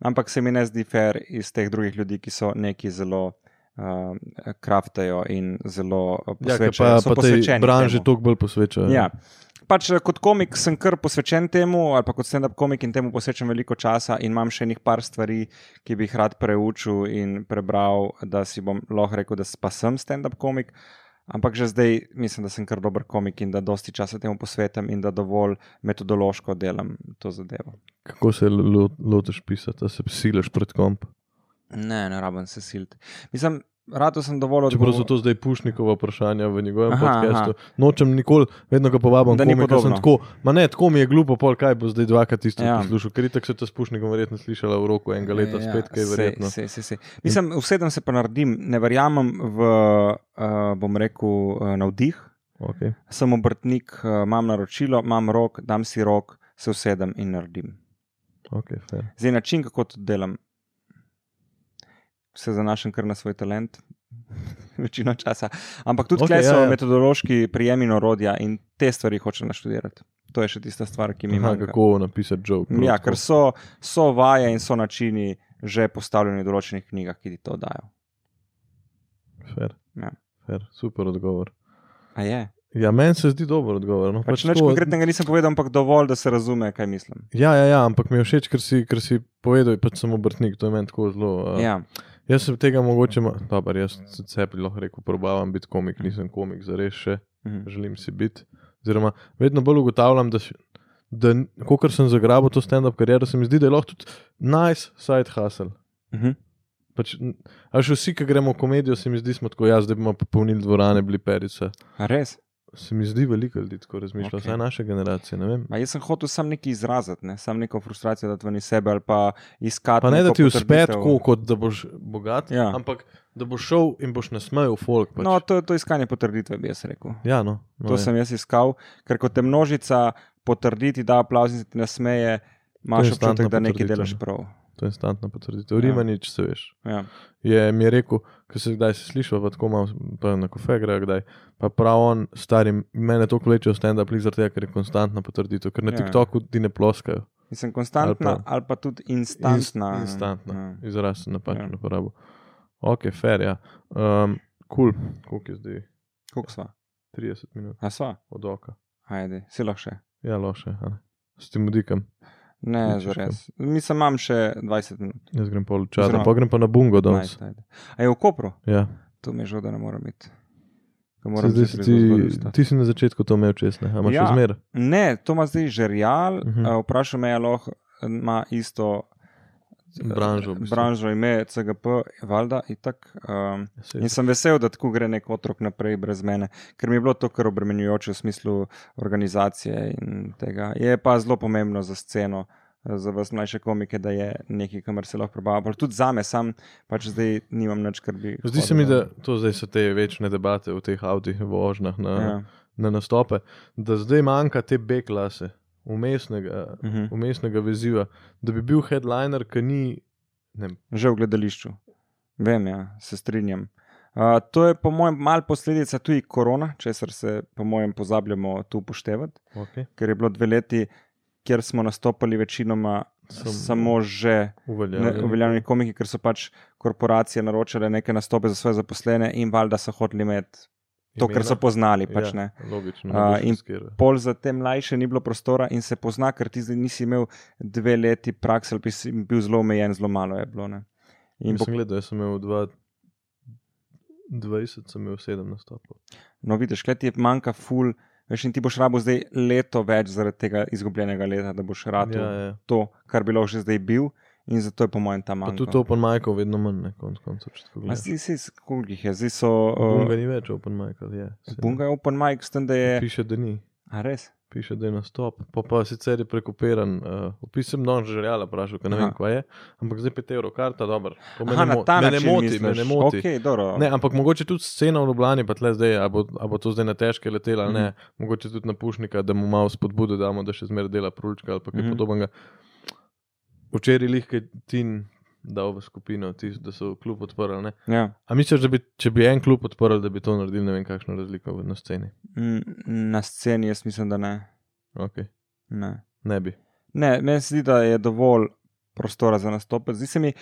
S1: ampak se mi ne zdi fair iz teh drugih ljudi, ki so neki zelo. Uh, kraftajo in zelo eh,
S2: Ja, ker
S1: posvečajo,
S2: pa,
S1: so
S2: pa tej
S1: posvečeni
S2: branži
S1: temu.
S2: toliko bolj posvečajo.
S1: Ja. Pač eh, kot komik sem kar posvečen temu, ali pa kot stand-up komik in temu posvečam veliko časa, in imam še nekaj par stvari, ki bi jih rad preučil in prebral, da si bom lahko rekel, da s- pa sem stand-up komik. Ampak že zdaj mislim, da sem kar dober komik in da dosti časa temu posvetim in da dovolj metodološko delam to zadevo.
S2: Kako se lo- lotiš pisati, a se siliš pred komp?
S1: Ne, ne rabim se silt. Mislim, rado sem dovolj
S2: Čeprav so
S1: odgovoren.
S2: to zdaj pušnikova vprašanja v njegovem
S1: Aha,
S2: podkastu, nočem nikoli, vedno ga povabim,
S1: Da
S2: da
S1: ni
S2: komika, sem
S1: podobno.
S2: tako. Ma ne, tako mi je glupo, pol kaj bo zdaj dvakrat isto ja.
S1: Ja.
S2: poslušal, ker itak se ta s pušnikom verjetno slišala v roku enega leta, ja, spet kaj
S1: sej,
S2: verjetno.
S1: Sej, sej, sej. Mislim, vsedem se pa naredim, ne verjamem v, uh, bom rekel, uh, navdih.
S2: Okay.
S1: sem obrtnik, eh, imam naročilo, imam rok, dam si rok, se usedem in naredim.
S2: Okay, fair.
S1: Zdaj način, kako to delam, se zanašam kar na svoj talent. Večino časa. Ampak tudi
S2: Okej,
S1: okay, so
S2: ja,
S1: ja,
S2: ja.
S1: ja. metodološki prijemi in orodja, in te stvari hočem naštudirati. To je še tista stvar, ki mi
S2: Aha,
S1: manjka.
S2: kako napisati no, žog?
S1: Ja, ker so, so vaje in so načini že postavljeni v določenih knjigah, ki ti to dajo.
S2: Fair.
S1: Ja.
S2: Fair. Super odgovor.
S1: A je?
S2: Ja, meni se zdi dober odgovor. No?
S1: Pač nič
S2: to-
S1: konkretnega nisem povedal, ampak dovolj, da se razume, kaj mislim.
S2: Ja, ja, ja, ampak mi je všeč, ker si, ker si povedal, pač sem obrtnik, to je meni tako zelo. Uh,
S1: Ja,
S2: Jaz sem tega mogoče, ma- dobro, jaz sem sebi lahko rekel, probavam biti komik, nisem komik, zares še,
S1: mhm.
S2: želim si biti. Oziroma, vedno bolj ugotavljam, da, še- da ko sem zagrabil to stand-up kariero, se mi zdi, da je lahko tudi nice side hustle.
S1: Mhm.
S2: Pač, n- a še vsi, ki gremo v komedijo, se mi zdi, smo tako, ja, zdaj bomo popolnili dvorane, bili perice.
S1: A res.
S2: se mi zdi veliko ljudi tako razmišlja, okay.
S1: Okej.
S2: vsaj naša generacija. ne vem.
S1: Ma jaz sem hotel sam nekaj izraziti, ne? sam neko frustracijo dati ven iz sebe ali pa iskati.
S2: Pa ne,
S1: neko
S2: da ti uspe
S1: potrditev.
S2: tako, kot da boš bogat,
S1: Ja.
S2: ampak da boš šel in boš nasmejal folk. Pač.
S1: No, to je to iskanje potrditve, bi jaz rekel.
S2: ja, no, no,
S1: To
S2: ja.
S1: sem jaz iskal, ker ko te množica potrdi, ti da aplauz in se ti nasmeje,
S2: To je
S1: imaš
S2: instantna
S1: občutek, da nekaj
S2: potrditev,
S1: delaš
S2: ne.
S1: prav.
S2: To je instantna potrditev.
S1: Ja.
S2: Rimanič, se veš.
S1: Ja.
S2: Je mi je rekel, ko se kdaj se sliši, pa tako malo pa na kofe gre, kdaj. Pa prav on, stari, mene to vleče v stand-up, glih zaradi tega, ker je konstantna potrditev, ker na
S1: Ja.
S2: ja. TikToku ti ne ploskajo.
S1: Mislim, konstantna ali
S2: Ali
S1: pa,
S2: pa-
S1: ali pa tudi instantna.
S2: Inst, instantna,
S1: Ja.
S2: ja. izraz sem napačno
S1: Ja.
S2: ja. uporabil. Ok, fair, ja. Um, cool, koliko je zdaj?
S1: Kako sva?
S2: 30 minut
S1: A sva?
S2: od oka.
S1: Ajde, si lahko še.
S2: Ja, loše, a ne. s tem udikam.
S1: Ne,
S2: Nič
S1: zares. Mislim, imam še 20 minut.
S2: Jaz grem pol časa,
S1: Oziroma-
S2: pa grem pa na bungo danes.
S1: Najde, ajde. A je v Kopru?
S2: Ja.
S1: To mi je žal, da ne moram biti. Ga
S2: Saj
S1: moram
S2: Zdaj, si
S1: čez
S2: ti,
S1: zgodaj vstati.
S2: ti si na začetku to imel česne, ampak ja.
S1: Ja.
S2: še zmeraj.
S1: Ne, to ima zdaj žerjal. Uh
S2: Mhm.
S1: -huh. Vprašal me je, ali lahko eh, ima isto eh,
S2: Branžo, v bistvu.
S1: branžo ime CGP, valjda itak. Um,
S2: Ja, Saj
S1: in sem vesel, da tako gre nek otrok naprej brez mene, ker mi je bilo to kar obremenjujoče v smislu organizacije in tega. Je pa zelo pomembno za sceno. eh, Za vas mlajše komike, da je nekaj, kar se lahko probava. Tudi za me, sam pač zdaj nimam nič, kar bi.
S2: Zdi se mi, da
S1: ja.
S2: to zdaj so te večne debate v teh avtih, v vožnjah na, ja.
S1: Ja.
S2: na nastope, da zdaj manjka te B klase, umestnega,
S1: Uh -huh.
S2: umestnega veziva, da bi bil headliner, ki ni. Ne, vem,
S1: že v gledališču. Vem, ja, se strinjam. Uh, to je, po mojem, mal posledica tudi korona, česar se, po mojem, pozabljamo tu upoštevati,
S2: okay,
S1: ker je bilo dve leti, kjer smo nastopali večinoma
S2: Samo-
S1: Sam, samo že ne-
S2: uveljavljen.
S1: uveljavljeni komiki, ker so pač korporacije naročile neke nastope za svoje zaposlene in valjda so hoteli imeti to, kar so poznali. Pač, ne.
S2: Ja, Logično.
S1: A,
S2: Uh,
S1: in-
S2: in...
S1: Pol za te mlajše ni bilo prostora in se pozna, ker ti zdaj nisi imel dve leti prakse, ali pa si bil zelo omejen, zelo malo je bilo. Ne. In
S2: in
S1: po
S2: sem gledal, jaz sem imel dva, 20, sem imel 7 nastopov.
S1: No, vidiš, kaj ti je manjka, ful. Veš, in ti boš rabo zdaj leto več zaradi tega izgubljenega leta, da boš rado
S2: ja,
S1: ja,
S2: ja.
S1: to, kar bi lahko že zdaj bil, in zato je po mojem ta
S2: Pa
S1: manjka.
S2: tudi open micov vedno manj, ne, konc koncev, če
S1: A
S2: tako gledaš.
S1: zdaj si, koliko jih je, zdaj so.
S2: Bunga
S1: Uh,
S2: ni več open micov, je. saj.
S1: Bunga je open mic, s tem, da je.
S2: Piše, da ni.
S1: A res?
S2: Piše, da je nastop, pa, pa sicer je prekopiran. Uh, Opisem non žrela, vprašal, ker ne
S1: Aha.
S2: vem, kaj je. Ampak zdaj 5 evrov karta, dobro. To me
S1: Aha,
S2: ne,
S1: na
S2: mo-
S1: ta
S2: me ne
S1: način.
S2: moti, me
S1: misliš.
S2: ne moti.
S1: Okay, dobro.
S2: Ne, ampak mogoče tudi scena v Ljubljani, pa tle zdaj, ali bo, a bo to zdaj na težke letela, ali ne,
S1: Mhm.
S2: mogoče tudi na Pušnika, da mu malo spodbude damo, da še zmeraj dela pručka ali pa kaj
S1: Mhm.
S2: mm. podobnega. Včeraj jih je Tin dal v skupino, tis, da so klub odprli. Ne?
S1: Ja.
S2: A misliš, da bi, če bi en klub odprl, da bi to naredil, ne vem, kakšno razliko v- na sceni?
S1: Mm, Na sceni jaz mislim, da ne.
S2: Okay.
S1: ne.
S2: Ne bi.
S1: Ne, meni se zdi, da je dovolj prostora za nastope. Zdi se mi,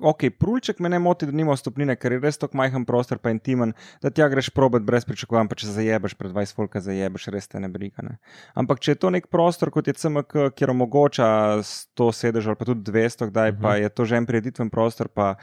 S1: ok, prulček me ne moti, da nima stopnine, ker je res tako majhen prostor, pa intimen, da ti ja greš probat brez pričakovanj, pa če se zajebeš pred 20 volka, zajebeš, res te ne briga. Ne. Ampak če je to nek prostor, kot je CMK, kjer omogoča 100 sedežev ali pa tudi 200, kdaj
S2: Mhm.
S1: pa je to že en prijeditven prostor, pa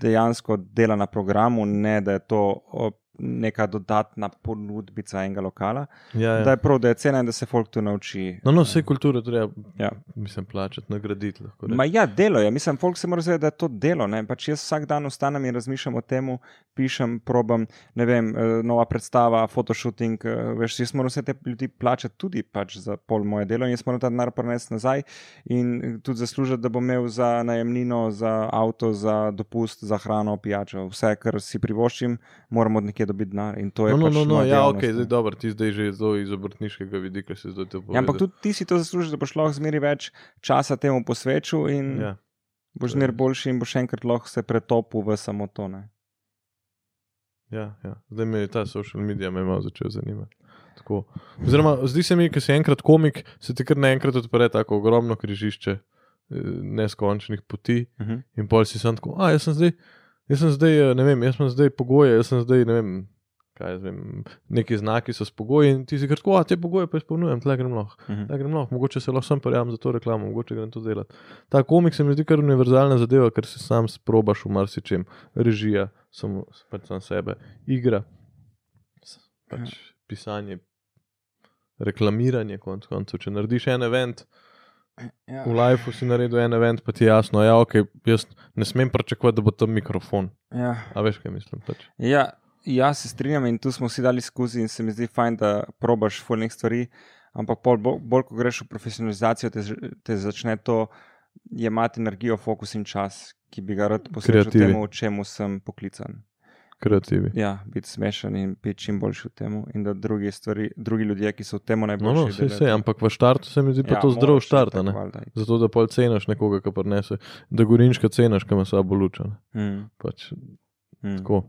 S1: dejansko dela na programu, ne da je to o, neka dodatna ponudbica enega lokala.
S2: Ja,
S1: Da
S2: ja.
S1: je prav, da je cena in da se folk tu nauči.
S2: No, no, vse kulture treba,
S1: Ja.
S2: mislim, plačati, nagraditi. lahko
S1: Ma
S2: rečem.
S1: ja, delo je, mislim, folk se mora zavedati, da je to delo. ne. Pač jaz vsak dan vstanem in razmišljam o tem, pišem, probam, ne vem, eh, nova predstava, photoshooting. eh, Veš, jaz moram vse te ljudi plačati tudi pač za pol moje delo in jaz moram ta denar prenesti nazaj in eh, tudi zaslužiti, da bom imel za najemnino, za avto, za dopust, za hrano, pijačo. Vse, kar si privoščim, moram od nekje dobiti denar. In to je
S2: No, no,
S1: pač
S2: no, no
S1: moja
S2: ja,
S1: dejavnost,
S2: ok,
S1: ne.
S2: zdaj dobro, ti zdaj že zelo iz obrtniškega vidika se zdaj to
S1: Ja, ampak
S2: povedal.
S1: tudi ti si to zaslužiš, da boš lahko zmeri več časa temu posvečil in
S2: Ja.
S1: Boš
S2: To je
S1: zmer
S2: res.
S1: boljši in boš enkrat lahko se pretopil v samo to. Ne?
S2: Ja, ja. Zdaj me je ta social medij me je malo začel zanimati. Tako. Oziroma, zdi se mi, da si enkrat komik, se ti kar naenkrat odpre tako ogromno križišče eh, neskončnih poti
S1: Uh -huh.
S2: in pol si sam tako, a jaz sem zdaj, jaz sem zdaj, eh, ne vem, jaz sem zdaj pogoje, jaz sem zdaj, ne vem, kaj jaz vem, neki znaki so s pogoji in ti si kar tako, a te pogoje pa izpolnjujem, tle grem lahko.
S1: Uh
S2: Da Ja, grem lahko, mogoče se lahko sam prijavim za to reklamo, mogoče grem to delati. Ta komik se mi zdi kar univerzalna zadeva, ker se sam sprobaš v marsičem. Režija, samo pač sam sebe, igra, s- pač
S1: Ja.
S2: pisanje, reklamiranje, konc koncev. Če narediš en event,
S1: Ja.
S2: v lifeu si naredil en event, pa ti je jasno, ja, ok, jaz ne smem pričakovati, da bo tam mikrofon.
S1: Ja.
S2: A veš, kaj mislim? Pač.
S1: Ja, Ja, se strinjam in tu smo si dali skozi in se mi zdi fajn, da probaš fulnih stvari, ampak pol, bo- bolj, ko greš v profesionalizacijo, te, ž- te začne to jemati energijo, fokus in čas, ki bi ga rad posvetil
S2: Kreativi.
S1: temu, čemu sem poklican.
S2: kreativi.
S1: Ja, biti smešen in biti čim boljši v tem, in da drugi, stvari, drugi ljudje, ki so v tem
S2: No,
S1: najboljši,
S2: no, vse,
S1: delajo
S2: vse,
S1: to.
S2: ampak v štartu se mi zdi pa
S1: Ja,
S2: to zdrav
S1: moraš,
S2: štart. a
S1: tako
S2: ne.
S1: valjda.
S2: Zato, da pol ceniš nekoga, ki prenese, da gorinčka ceniš, ki ima slabo luč. a ne.
S1: Mm,
S2: Pač,
S1: mm.
S2: Tako.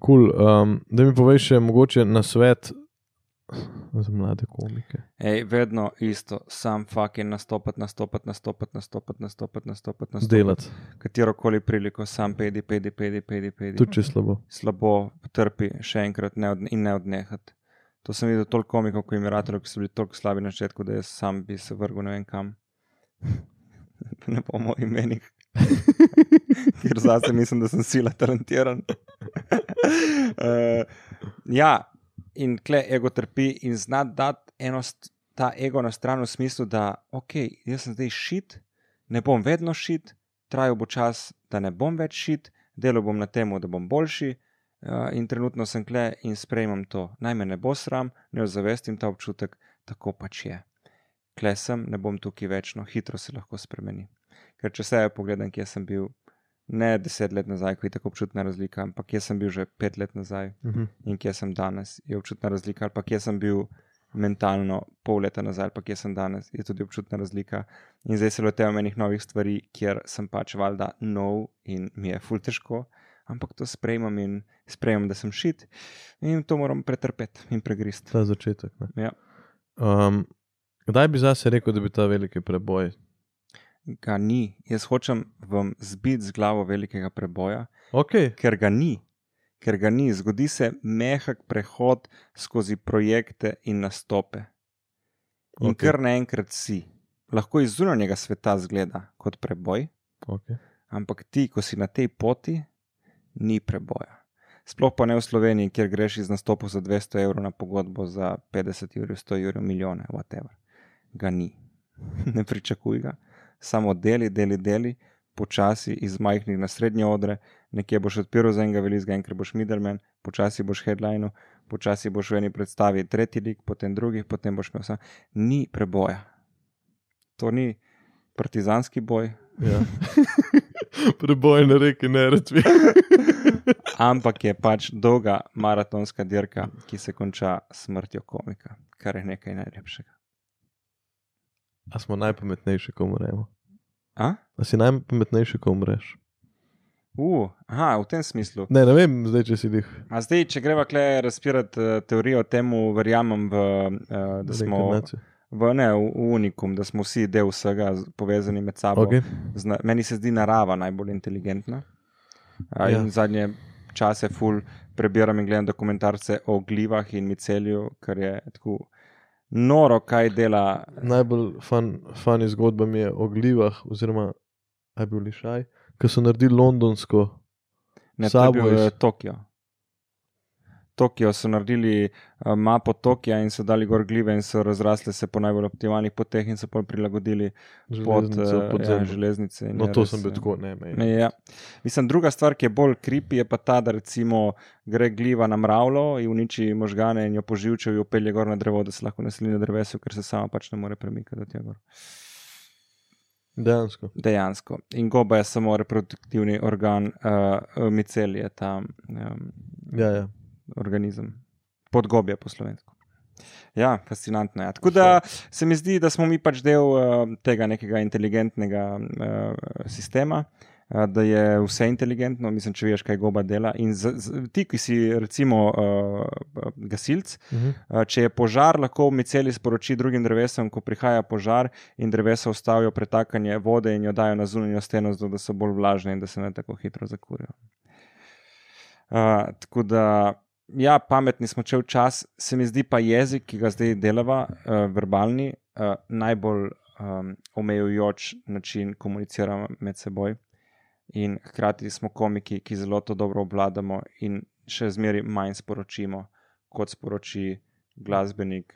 S2: Cool. Um, da mi poveš, še mogoče na svet za mlade komike.
S1: Ej, vedno isto, sam fucking nastopati, nastopati, nastopati, nastopati, nastopati, nastopati, nastopati.
S2: Delati,
S1: Katero koli priliko, sam pedi, pedi, pedi, pedi. pedi.
S2: tudi če je slabo.
S1: slabo trpi, še enkrat ne od, in ne odnehati. To sem videl toliko komikov, kot imiratorjev, ki so bili tako slabi na začetku, da jaz sam bi se vrgel ne vem kam. Da ne bom o imenih, ker zase mislim, da sem sila talentiran. uh, ja, in kle ego trpi in zna dati enost, ta ego na stran v smislu, da ok, jaz sem zdaj šit, ne bom vedno šit, trajal bo čas, da ne bom več šit, delal bom na tem, da bom boljši. Uh, in trenutno sem kle in sprejemam to. Naj me ne bo sram, ne ozavestim ta občutek, tako pač je. Kle sem, ne bom tukaj večno, hitro se lahko spremeni. Ker če se pogledam, kje sem bil, ne deset let nazaj, ko je tako občutna razlika, ampak kje sem bil že pet let nazaj
S2: Mhm.
S1: in kje sem danes, je občutna razlika, ali pa kje sem bil mentalno pol leta nazaj, ali pa kje sem danes, je tudi občutna razlika. In zdaj se lotevam enih novih stvari, kjer sem pač valjda nov in mi je ful težko, ampak to sprejemam in sprejemam, da sem šit in to moram pretrpeti in pregrist.
S2: Ta začetek. ne.
S1: Ja.
S2: Um, kdaj bi zase rekel, da bi ta veliki preboj?
S1: Ga ni, jaz hočem vam zbiti z glavo velikega preboja,
S2: Okay.
S1: ker ga ni. Ker ga ni, zgodi se mehak prehod skozi projekte in nastope. In
S2: Okej.
S1: okay. kar naenkrat si, lahko iz zunanjega sveta zgleda kot preboj,
S2: Okay.
S1: ampak ti, ko si na tej poti, ni preboja. Sploh pa ne v Sloveniji, kjer greš iz nastopov za 200 evrov na pogodbo za 50 ur, 100 ur, milijone, whatever. Ga ni. ne pričakuj ga. Samo deli, deli, deli, počasi iz majhnih na srednje odre, nekje boš odpiral za enega velikega, enkrat boš middleman, počasi boš headline, počasi boš v eni predstavi tretji lik, potem drugi, potem boš imel vse. Ni preboja. To ni partizanski boj,
S2: Ja. preboj na reki, ne rečem.
S1: ampak je pač dolga maratonska dirka, ki se konča s smrtjo komika, kar je nekaj najlepšega.
S2: A smo najpametnejši, ko umremo.
S1: A?
S2: A si najpametnejši, ko umreš?
S1: Uh, aha, v tem smislu.
S2: Ne, ne vem, zdaj če si jih.
S1: A zdaj, če greva kle razpirati eh, teorijo o tem, verjamem, v, eh, da smo v, ne, v, v unikum, da smo vsi del vsega, z- povezani med sabo.
S2: Okay.
S1: Zna, meni se zdi narava najbolj inteligentna. A,
S2: Ja.
S1: ja. Zadnje čase ful prebiram in gledam dokumentarce o glivah in micelju, kar je tako noro, kaj dela.
S2: Najbolj fan, fan zgodba mi je o glivah, oziroma aj bil lišaj, ki so naredili londonsko.
S1: Ne, to je bil
S2: Subways.
S1: eh, Tokio. Tokio so naredili eh, mapo Tokia in so dali gor gljive in so razrasle se po najbolj optimalnih poteh in so pol prilagodili pod,
S2: železnico
S1: eh,
S2: pod
S1: ja,
S2: zemljo.
S1: železnice. in
S2: No,
S1: je
S2: to
S1: res,
S2: sem bil
S1: eh,
S2: tako, ne, ne.
S1: Ja. Mislim, druga stvar, ki je bolj kripi, je pa ta, da recimo gre gliva na mravlo in uniči možgane in jo poživče, jo pelje gor na drevo, da se lahko naseli na drevesu, ker se sama pač ne more premikati do tega gor.
S2: Dejansko.
S1: Dejansko. In goba je samo reproduktivni organ, uh, micel je ta um,
S2: Ja, ja.
S1: organizem. Podgobje po slovensko. Ja, fascinantno je. Tako da se mi zdi, da smo mi pač del uh, tega nekega inteligentnega uh, sistema, uh, da je vse inteligentno, mislim, če veš, kaj goba dela. In z, z, ti, ki si recimo uh, gasilc,
S2: Mhm.
S1: Uh, Če je požar, lahko miceli sporoči drugim drevesom, ko prihaja požar, in drevesa ustavijo pretakanje vode in jo dajo na zunanjo steno, zato da so bolj vlažne in da se ne tako hitro zakurijo. Uh, tako da, ja, pametni smo če včas, se mi zdi pa jezik, ki ga zdaj delava, uh, verbalni, uh, najbolj um, omejujoč način komuniciranja med seboj. In hkrati smo komiki, ki zelo to dobro obvladamo in še zmeraj manj sporočimo, kot sporoči glasbenik,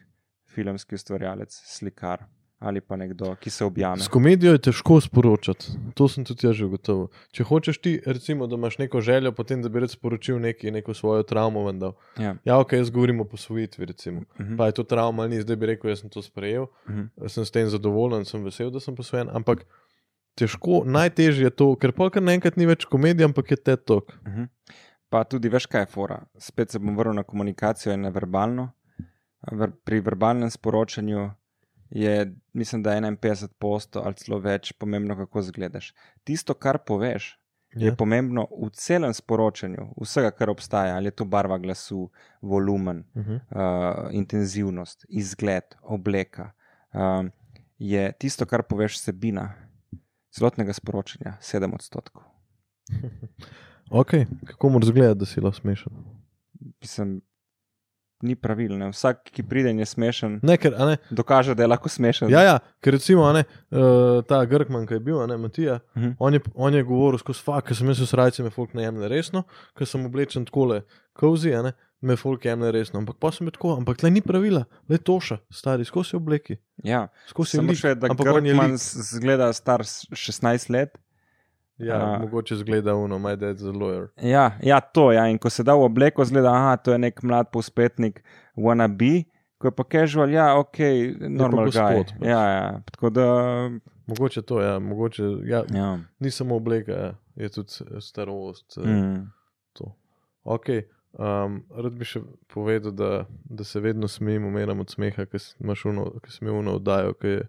S1: filmski ustvarjalec, slikar. ali pa nekdo, ki se objame.
S2: S komedijo je težko sporočati, to sem tudi jaz že ugotovil. Če hočeš ti, recimo, da imaš neko željo, potem da bi rad sporočil neki, neko svojo travmo, vendar.
S1: Ja.
S2: Ja, ok, jaz govorim o posvojitvi, recimo.
S1: Mhm.
S2: Pa je to travma, ali ni, zdaj bi rekel, jaz sem to sprejel,
S1: Mhm.
S2: sem s tem zadovoljen, sem vesel, da sem posvojen, ampak težko, najtežje je to, ker pa kar naenkrat ni več komedija, ampak je te tok.
S1: Mhm. Pa tudi veš, kaj je fora. Spet se bom vrnil na komunikacijo in na verbalno. Ver, pri verbalnem sporočanju je, mislim, da 51% ali celo več pomembno, kako izgledaš. Tisto, kar poveš, je
S2: Ja.
S1: pomembno v celem sporočanju, vsega, kar obstaja, ali je to barva glasu, volumen,
S2: Mhm.
S1: uh, intenzivnost, izgled, obleka, um, je tisto, kar poveš, sebina celotnega sporočanja, 7 odstotkov.
S2: Ok, kako moraš zgledati, da si lahko smešen?
S1: Mislim, ni pravilno. Vsak, ki pride in je smešen,
S2: Ne, ker, a ne,
S1: dokaže, da je lahko smešen.
S2: Hm? ja, ja, ker recimo, a ne, uh, ta Grkman, ki je bil, a ne, Matija,
S1: Mhm.
S2: On je, on je govoril skozi fakt, ker sem jaz s rajcem, me folk ne jemlje resno, ker sem oblečen tako kozi, a ne, me folk jemlje resno. Ampak pa sem bil tako, ampak tle ni pravila, le toša, stari, skozi obleki,
S1: ja.
S2: skozi
S1: Samo
S2: lik,
S1: še, da
S2: ampak on je
S1: Grkman
S2: lik.
S1: zgleda star s- 16 let.
S2: Ja,
S1: a-
S2: mogoče zgleda uno, my dad's a lawyer.
S1: Ja, ja, to je. Ja. In ko se da v obleko, zgleda, da to je nek mlad povzpetnik, wannabe. Ko je pa casual, ja, ok, normal guy.
S2: gospod pač.
S1: Ja, ja. Tako da,
S2: Mogoče to, ja, mogoče, ja,
S1: ja.
S2: ni samo obleka, ja, je tudi eh, starost. eh,
S1: Mm.
S2: to. Ok, um, rad bi še povedal, da, da se vedno smejim, umiram od smeha, ker s- imaš uno, ker sem imel uno oddajo, ki je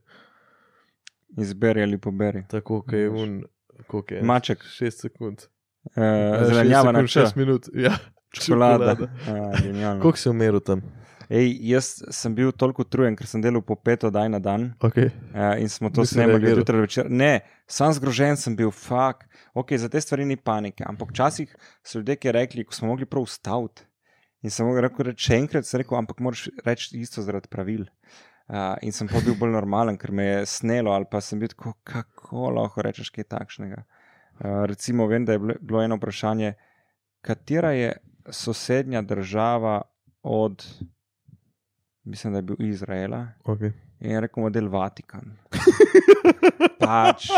S1: Izberi ali poberi.
S2: tako, ki je
S1: Veš.
S2: un, koliko je?
S1: Maček.
S2: 6 sekund.
S1: Uh,
S2: Eh,
S1: Zelenjava na
S2: 6
S1: čas,
S2: minut. Ja,
S1: čokolada.
S2: čokolada.
S1: Ja, genialno.
S2: Koliko si umiral tam?
S1: Ej, jaz sem bil toliko utrujen, ker sem delal po pet oddaj na dan
S2: Okay.
S1: uh, in smo to
S2: Nisi
S1: snemali
S2: reagiral.
S1: zjutraj večer. Ne, sam zgrožen sem bil, fuk. Okay, za te stvari ni panike, ampak včasih so ljudje, ki rekli, ko smo mogli prav ustaviti. In sem mogel rekel, reči še enkrat, sem rekel, ampak moraš reči isto zaradi pravil. Uh, in sem pa bil bolj normalen, ker me je snelo, ali pa sem bil tako, kako lahko rečeš kaj takšnega. Uh, recimo, vem, da je bilo- bilo eno vprašanje, katera je sosednja država od, mislim, da je bil Izraela,
S2: Okay.
S1: In je rekel model Vatikan. pač,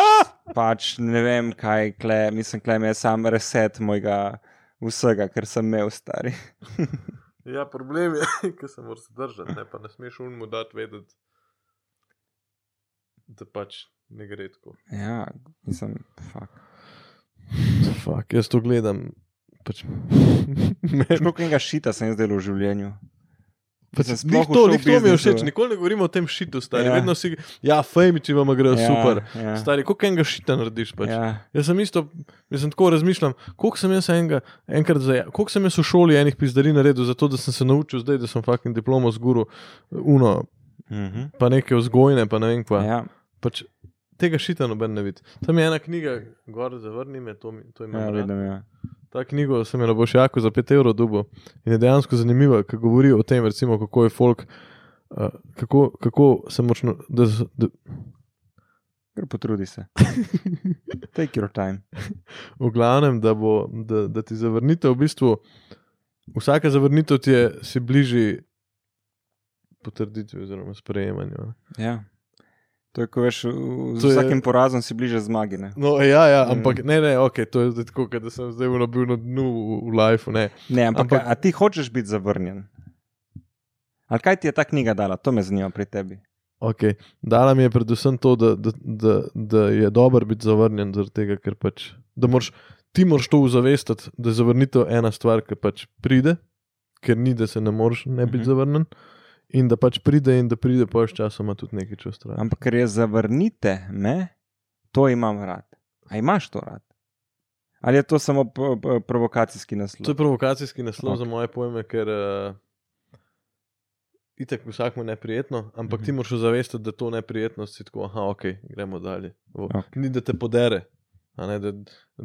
S1: pač ne vem, kaj kle, mislim, kle me je sam reset mojega vsega, kar sem imel stari.
S2: Ja, problem je, ker se moraš držati, ne pa ne smeš unmu dati vedeti, da pač ne gre tako.
S1: Ja, mislim, fuk.
S2: Fak, jaz to gledam. Pač, Ja.
S1: Veš, Koliko enega šita sem jaz delal v življenju.
S2: Pač,
S1: Sem sploh
S2: Nik to,
S1: v
S2: nik to mi je
S1: showbiznisu.
S2: všeč, nikoli ne govorimo o tem šitu, stari.
S1: Ja.
S2: Ja. Vedno si, ja, fejmiči vam grejo ja, super.
S1: Ja,
S2: Stari, koliko enega šita narediš? Pač? Ja.
S1: ja.
S2: Jaz sem isto, jaz sem tako razmišljam, koliko sem jaz enega, enkrat za, koliko sem jaz v šoli enih pizdarij naredil, zato da sem se naučil zdaj, da sem fucking diplomo zguru, uno,
S1: Mhm.
S2: pa neke vzgojne, pa ne vem kva. Ja.
S1: ja.
S2: Pač, tega šita noben ne vidi. Tam je ena knjiga, gor zavrni me, to, mi- to imam.
S1: ja
S2: rad.
S1: vidim, ja.
S2: Ta knjiga sem jo na Bošjaku za 5 evrov dubo in je dejansko zanimiva, ker govori o tem, recimo, kako je folk, uh, kako, kako se močno. Da, s- da,
S1: Kar potrudi se. Take your time.
S2: v glavnem, da, bo, da, da ti zavrnitev v bistvu, vsaka zavrnitev ti je si bližji potrditvi oziroma sprejemanju. ne.
S1: Ja. To je, ko veš, v- z
S2: To je-
S1: vsakim porazom si bliže zmagi. Ne,
S2: No, ja, ja,
S1: Mm.
S2: ampak ne, ne, ok, to je zdaj tako, kot da sem zdaj ono bil na dnu v- v lifeu. ne.
S1: ne ampak, ampak
S2: Ampak-
S1: a, a ti hočeš biti zavrnjen? Ali kaj ti je ta knjiga dala? To me zanima pri tebi.
S2: Okay. Dala mi je predvsem to, da, da, da, da je dobro biti zavrnjen, zaradi tega, ker pač, da moraš, ti moraš to uzavestiti, da je zavrnitev ena stvar, ki pač pride, ker ni, da se ne moreš
S1: Mhm.
S2: ne biti mm -hmm. zavrnjen, in da pač pride, in da pride pa še časoma tudi nekaj čez stran.
S1: Ampak ker je zavrnite me, to imam rad. A imaš to rad? Ali je to samo p- p- provokacijski
S2: To je
S1: naslov?
S2: provokacijski naslov okay. za
S1: Ok.
S2: moje pojme, ker uh, itek vsakmu je neprijetno, ampak mm
S1: Mhm.
S2: -hmm. ti moraš zavestiti, da to neprijetnost si tako, aha, ok, gremo dalje. Okay.
S1: Ok.
S2: Ni da te podere. a Ne, da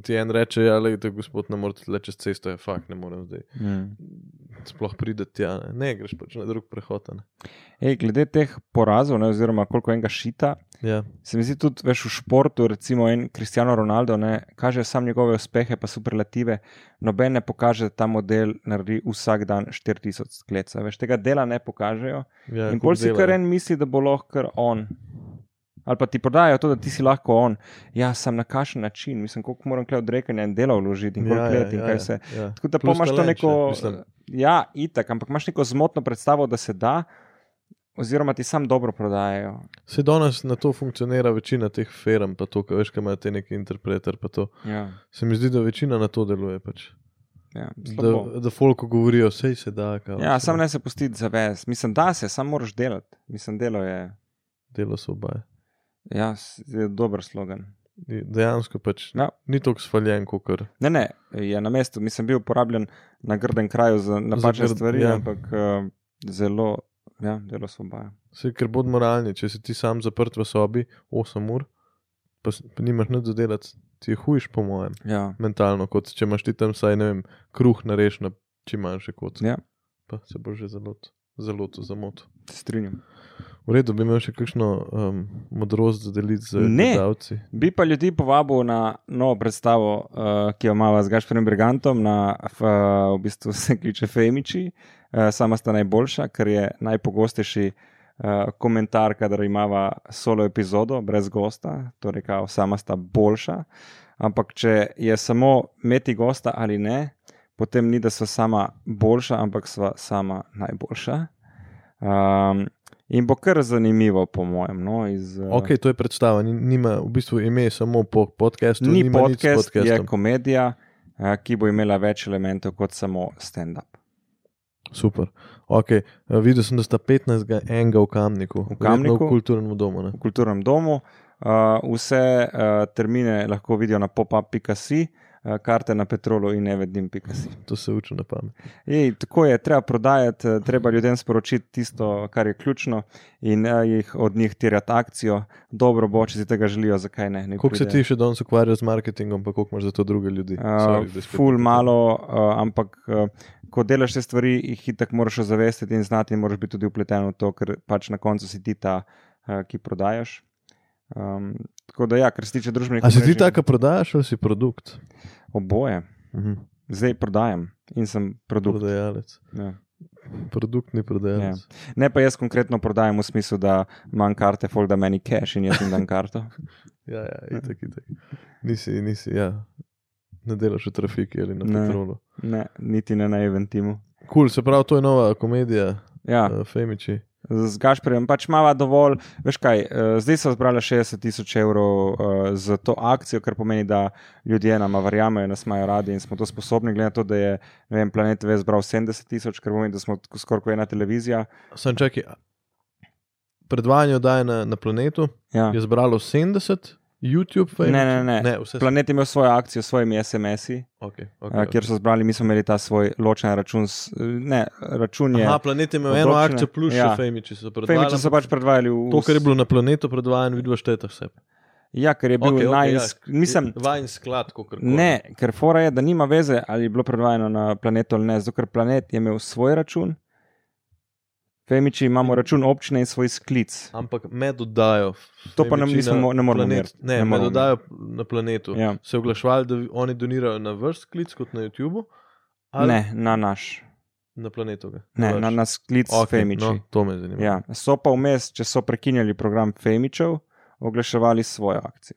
S2: ti en reče, ja, le, gospod, ne moreš le čez cesto, je fakt, ne morem zdaj.
S1: Mm.
S2: Sploh prideti tja, ne, ne greš pač na drug prehod. a Ne.
S1: Ej, glede teh porazov, ne, oziroma koliko enega šita,
S2: Ja.
S1: se mi zdi tudi veš, v športu, recimo en Cristiano Ronaldo, ne, kaže sam njegove uspehe, pa superlative, noben ne pokaže, da ta model naredi vsak dan 4000 skleca. Veš, tega dela ne pokažejo.
S2: Ja,
S1: In
S2: koliko
S1: bolj si
S2: dela
S1: kar
S2: je.
S1: en misli, da bo lahko kar on ali pa ti prodajajo to, da ti si lahko on. Ja, sem na kakšen način, mislim, koliko moram kle odrekanja in dela vložiti in koliko ja, let in ja, kaj vse. Ja, ja. Tako da pa
S2: Plus
S1: imaš to
S2: talent še,
S1: neko,
S2: mislim.
S1: ja, itak, ampak imaš neko zmotno predstavo, da se da, oziroma ti sam dobro prodajajo.
S2: Se danes na to funkcionira večina teh firm, pa to, kaj veš, kaj imajo te neki interpreter. pa to.
S1: Ja,
S2: Se mi zdi, da večina na to deluje. Pač.
S1: ja,
S2: Da,
S1: slabo.
S2: da folko govorijo, vse se da. Kao,
S1: ja
S2: saj
S1: sam ne se pustiti zavez. Mislim, da se, sam moraš delati. Mislim, delo je,
S2: Delo so oba.
S1: ja, s- je dober slogan.
S2: Dejansko pač
S1: Ja.
S2: ja. ni tako svaljen, kot kar.
S1: Ne, ne, je na mestu, mislim, bil uporabljen na grdem kraju za napačne
S2: grd-
S1: stvari,
S2: ja.
S1: ja. ampak uh, zelo, ja, delo svoboja.
S2: Vse, ker bod moralni, če si ti sam zaprt v sobi 8 ur, pa, s- pa nimaš nič dodelati, ti je hujš, po mojem,
S1: Ja.
S2: mentalno, kot če imaš ti tam vsaj, ne vem, kruh nareš na čim manjše kot.
S1: Ja.
S2: Pa se bo že zelo, zelo to zamotil.
S1: se Strinjam.
S2: V redu, bi imel še kakšno um, modrost za deliti z
S1: Ne.
S2: gledalci.
S1: Bi pa ljudi povabil na novo predstavo, uh, ki jo imamo z Gašporjem Brigantom, na, f, uh, v bistvu se kliče Femiči, uh, sama sta najboljša, ker je najpogostejši uh, komentar, kadar imamo solo epizodo brez gosta, torej kao sama sta boljša. Ampak če je samo imeti gosta ali ne, potem ni, da so sama boljša, ampak sva sama najboljša. Um, in bo kar zanimivo, po mojem. No, iz, uh,
S2: Ok, to je predstava, ni, nima v bistvu ime samo po podkastu.
S1: Ni
S2: nima nič s
S1: podcast, je
S2: podcastom.
S1: komedija, eh, ki bo imela več elementov kot samo stand-up.
S2: Super. Okay. eh, Videl sem, da sta 15 enega v
S1: V
S2: Kamniku, Verjetno
S1: Kamniku.
S2: v kulturnem domu. Ne?
S1: V kulturnem domu. eh, Vse eh, termine lahko vidijo na popup.si, eh, karte na petrolu in nevedim.si.
S2: To se uči na pamet.
S1: Ej, tako je, treba prodajati, eh, treba ljudem sporočiti tisto, kar je ključno, in eh, jih od njih tirati akcijo. Dobro bo, če si tega želijo, zakaj ne. naj
S2: Koliko se
S1: pridejo.
S2: ti še danes ukvarja z marketingom, pa koliko imaš za to druge ljudi? Sorry,
S1: Uh,
S2: da spet-
S1: ful malo, uh, ampak uh, ko delaš te stvari, jih itak moraš ozavestiti in znati, in moraš biti tudi upleten v to, ker pač na koncu si ti ta, uh, ki prodajaš. Um, tako da, ja, kar se tiče družbenih
S2: A si ti
S1: omrežij,
S2: taka prodajaš ali si produkt?
S1: Oboje,
S2: Mhm.
S1: zdaj prodajam in sem produkt.
S2: Prodajalec.
S1: Ja.
S2: Produktni prodajalec.
S1: Ne pa jaz konkretno prodajam v smislu, da imam karte, fol da meni cache in jaz jim dam karto.
S2: Ja, ja, itak, itak. Nisi, nisi, ja. Ne delaš v trafiki ali na
S1: Ne.
S2: petrolu.
S1: Ne, niti ne na eventimu.
S2: Kul, cool, se pravi, to je nova komedija,
S1: Ja,
S2: uh, Femiči.
S1: z Gašporjem, pač mava dovolj, veš kaj, eh, zdaj so zbrali 60 tisoč evrov eh, za to akcijo, kar pomeni, da ljudje nam verjamejo, nas imajo radi in smo to sposobni, glede na to, da je ne vem, Planet TV zbral 70 tisoč, kar pomeni, da smo tako skoraj kot ena televizija.
S2: Sam čakaj. a- Predvajanje oddaje na, na planetu
S1: Ja.
S2: je zbralo 70, YouTube pa je.
S1: Ne, ne, ne.
S2: ne vse so-
S1: Planet je imel svojo akcijo s svojimi SMS-i,
S2: Okay,
S1: okay, kjer so zbrali, mi smo imeli ta svoj ločen račun, s- ne, račun je.
S2: Aha, planet je imel eno
S1: Obdobčine.
S2: akcijo, plus ja.
S1: Ja.
S2: še Femiči so predvajali.
S1: Femiči so pač predvajali v.
S2: To, kar je bilo na planetu predvajano, videl štete vse.
S1: Ja, ker je bil okay,
S2: Okej,
S1: okay,
S2: okej,
S1: najs... ja. Mislim,
S2: Vajen sklad, kako rečemo.
S1: Ne, ker fora je, da nima veze, ali je bilo predvajano na planetu ali ne, zato ker planet je imel svoj račun. Femiči imamo račun občine in svoj sklic.
S2: Ampak med oddajo.
S1: To pa ne-
S2: Femiči
S1: mislim,
S2: na
S1: mo- ne moremo
S2: planet-
S1: meriti.
S2: Ne,
S1: Ne
S2: med
S1: moremo.
S2: oddajo na planetu.
S1: Ja.
S2: Se je oglašvali, da vi- oni donirajo na vrst klic kot na YouTubu. ali
S1: Ne, na naš,
S2: Na planetu. ga?
S1: ne,
S2: Vaš?
S1: na, na sklic okay,
S2: Okej,
S1: Femiči.
S2: No, to me zanima.
S1: Ja. So pa vmes, če so prekinjali program Femičev, oglaševali svojo akcijo.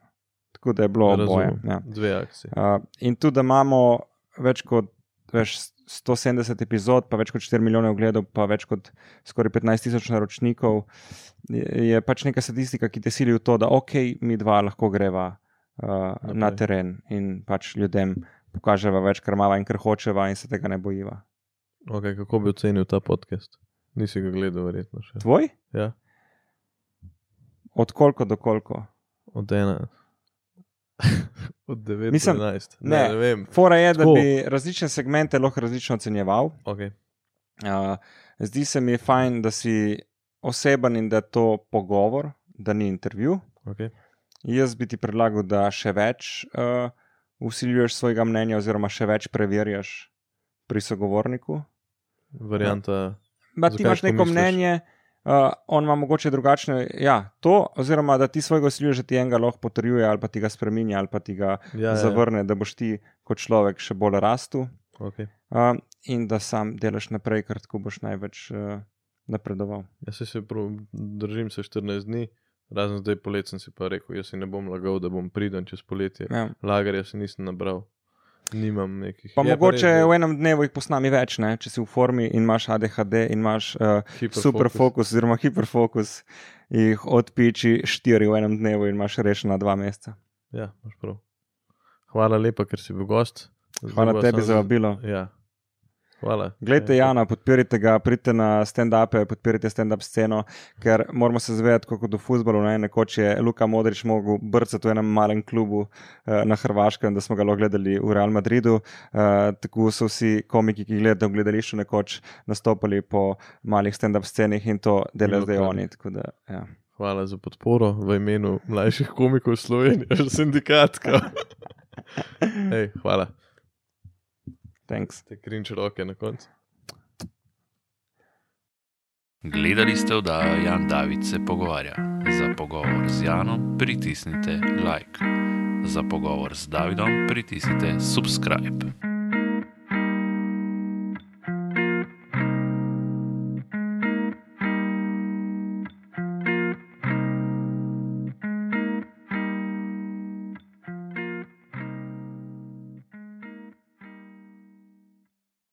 S1: Tako da je bilo oboje.
S2: Razumem.
S1: Ja.
S2: Dve akcije.
S1: Uh, in tudi, da imamo več kot veš, 170 epizod, pa več kot 4 milijone ogledov, pa več kot skoraj 15 tisoč naročnikov, je, je pač neka statistika, ki te sili v to, da ok, mi dva lahko greva uh, na
S2: Naprej.
S1: teren in pač ljudem pokaževa več, kar mava in kar hočeva, in se tega ne bojiva.
S2: Okay, kako bi ocenil ta podcast? Nisi ga gledal, verjetno še.
S1: Tvoj?
S2: Ja.
S1: Od koliko do koliko?
S2: Od ena. Od 9
S1: Mislim-
S2: do 11.
S1: ne.
S2: ne, ne vem.
S1: Fora je, da
S2: Tako.
S1: bi različne segmente lahko različno ocenjeval.
S2: Okay.
S1: Uh, zdi se mi fajn, da si oseben in da je to pogovor, da ni intervju.
S2: Okay.
S1: Jaz bi ti predlagal, da še več uh, usiljuješ svojega mnenja, oziroma še več preverjaš pri sogovorniku.
S2: Varianta.
S1: Ma, ti
S2: Zakaj
S1: imaš
S2: tako
S1: neko
S2: misliš?
S1: mnenje, uh, on ima mogoče drugačne. Ja, to, oziroma da ti svojega usiljuješ, da ti enega lahko potrjuje, ali pa ti ga spremenja, ali pa ti ga
S2: Ja,
S1: ja,
S2: ja, ja.
S1: zavrne, da boš ti kot človek še bolj rastel
S2: Okay.
S1: uh, in da sam delaš naprej,
S2: Ja,
S1: ker tako boš največ uh, napredoval.
S2: Jaz se, se prav, držim se 14 dni, Razen zdaj polet sem si pa rekel, jaz si ne bom lagal, da bom priden čez poletje.
S1: Ja.
S2: Lagarja si nisem nabral, nimam nekih.
S1: Pa
S2: Je
S1: je mogoče
S2: res, ja. da
S1: pa v enem dnevu jih posnami več, ne? če si v formi in imaš ADHD in imaš uh,
S2: hiperfokus-
S1: superfokus oziroma hiperfokus, jih odpiči štiri v enem dnevu in imaš rešena dva meseca.
S2: Ja, imaš prav. Hvala lepa, ker si bil gost. Zdaj
S1: Hvala
S2: bova
S1: tebi
S2: samo
S1: za vabilo.
S2: Ja. Hvala.
S1: Glejte,
S2: Ja.
S1: Jana, podpirite ga, pridite na stand-upe, podpirite stand-up sceno, ker moramo se zavedati, kako do futbola. Ne? Nekoč je Luka Modrič mogel brcati v enem malem klubu eh, na Hrvaškem, da smo ga lahko gledali v Real Madridu. Eh, tako so vsi komiki, ki jih gledajo v gledališču, nekoč nastopali po malih stand-up scenih in to delajo zdaj oni. tako Da, ja.
S2: Hvala za podporo v imenu mlajših komikov Slovenije, že sindikatka. Ej, hvala.
S1: Thanks.
S2: Te krinč roke na koncu.
S3: Gledali ste oddajo Jan David se pogovarja. Za pogovor z Janom pritisnite like, za pogovor z Davidom pritisnite subscribe.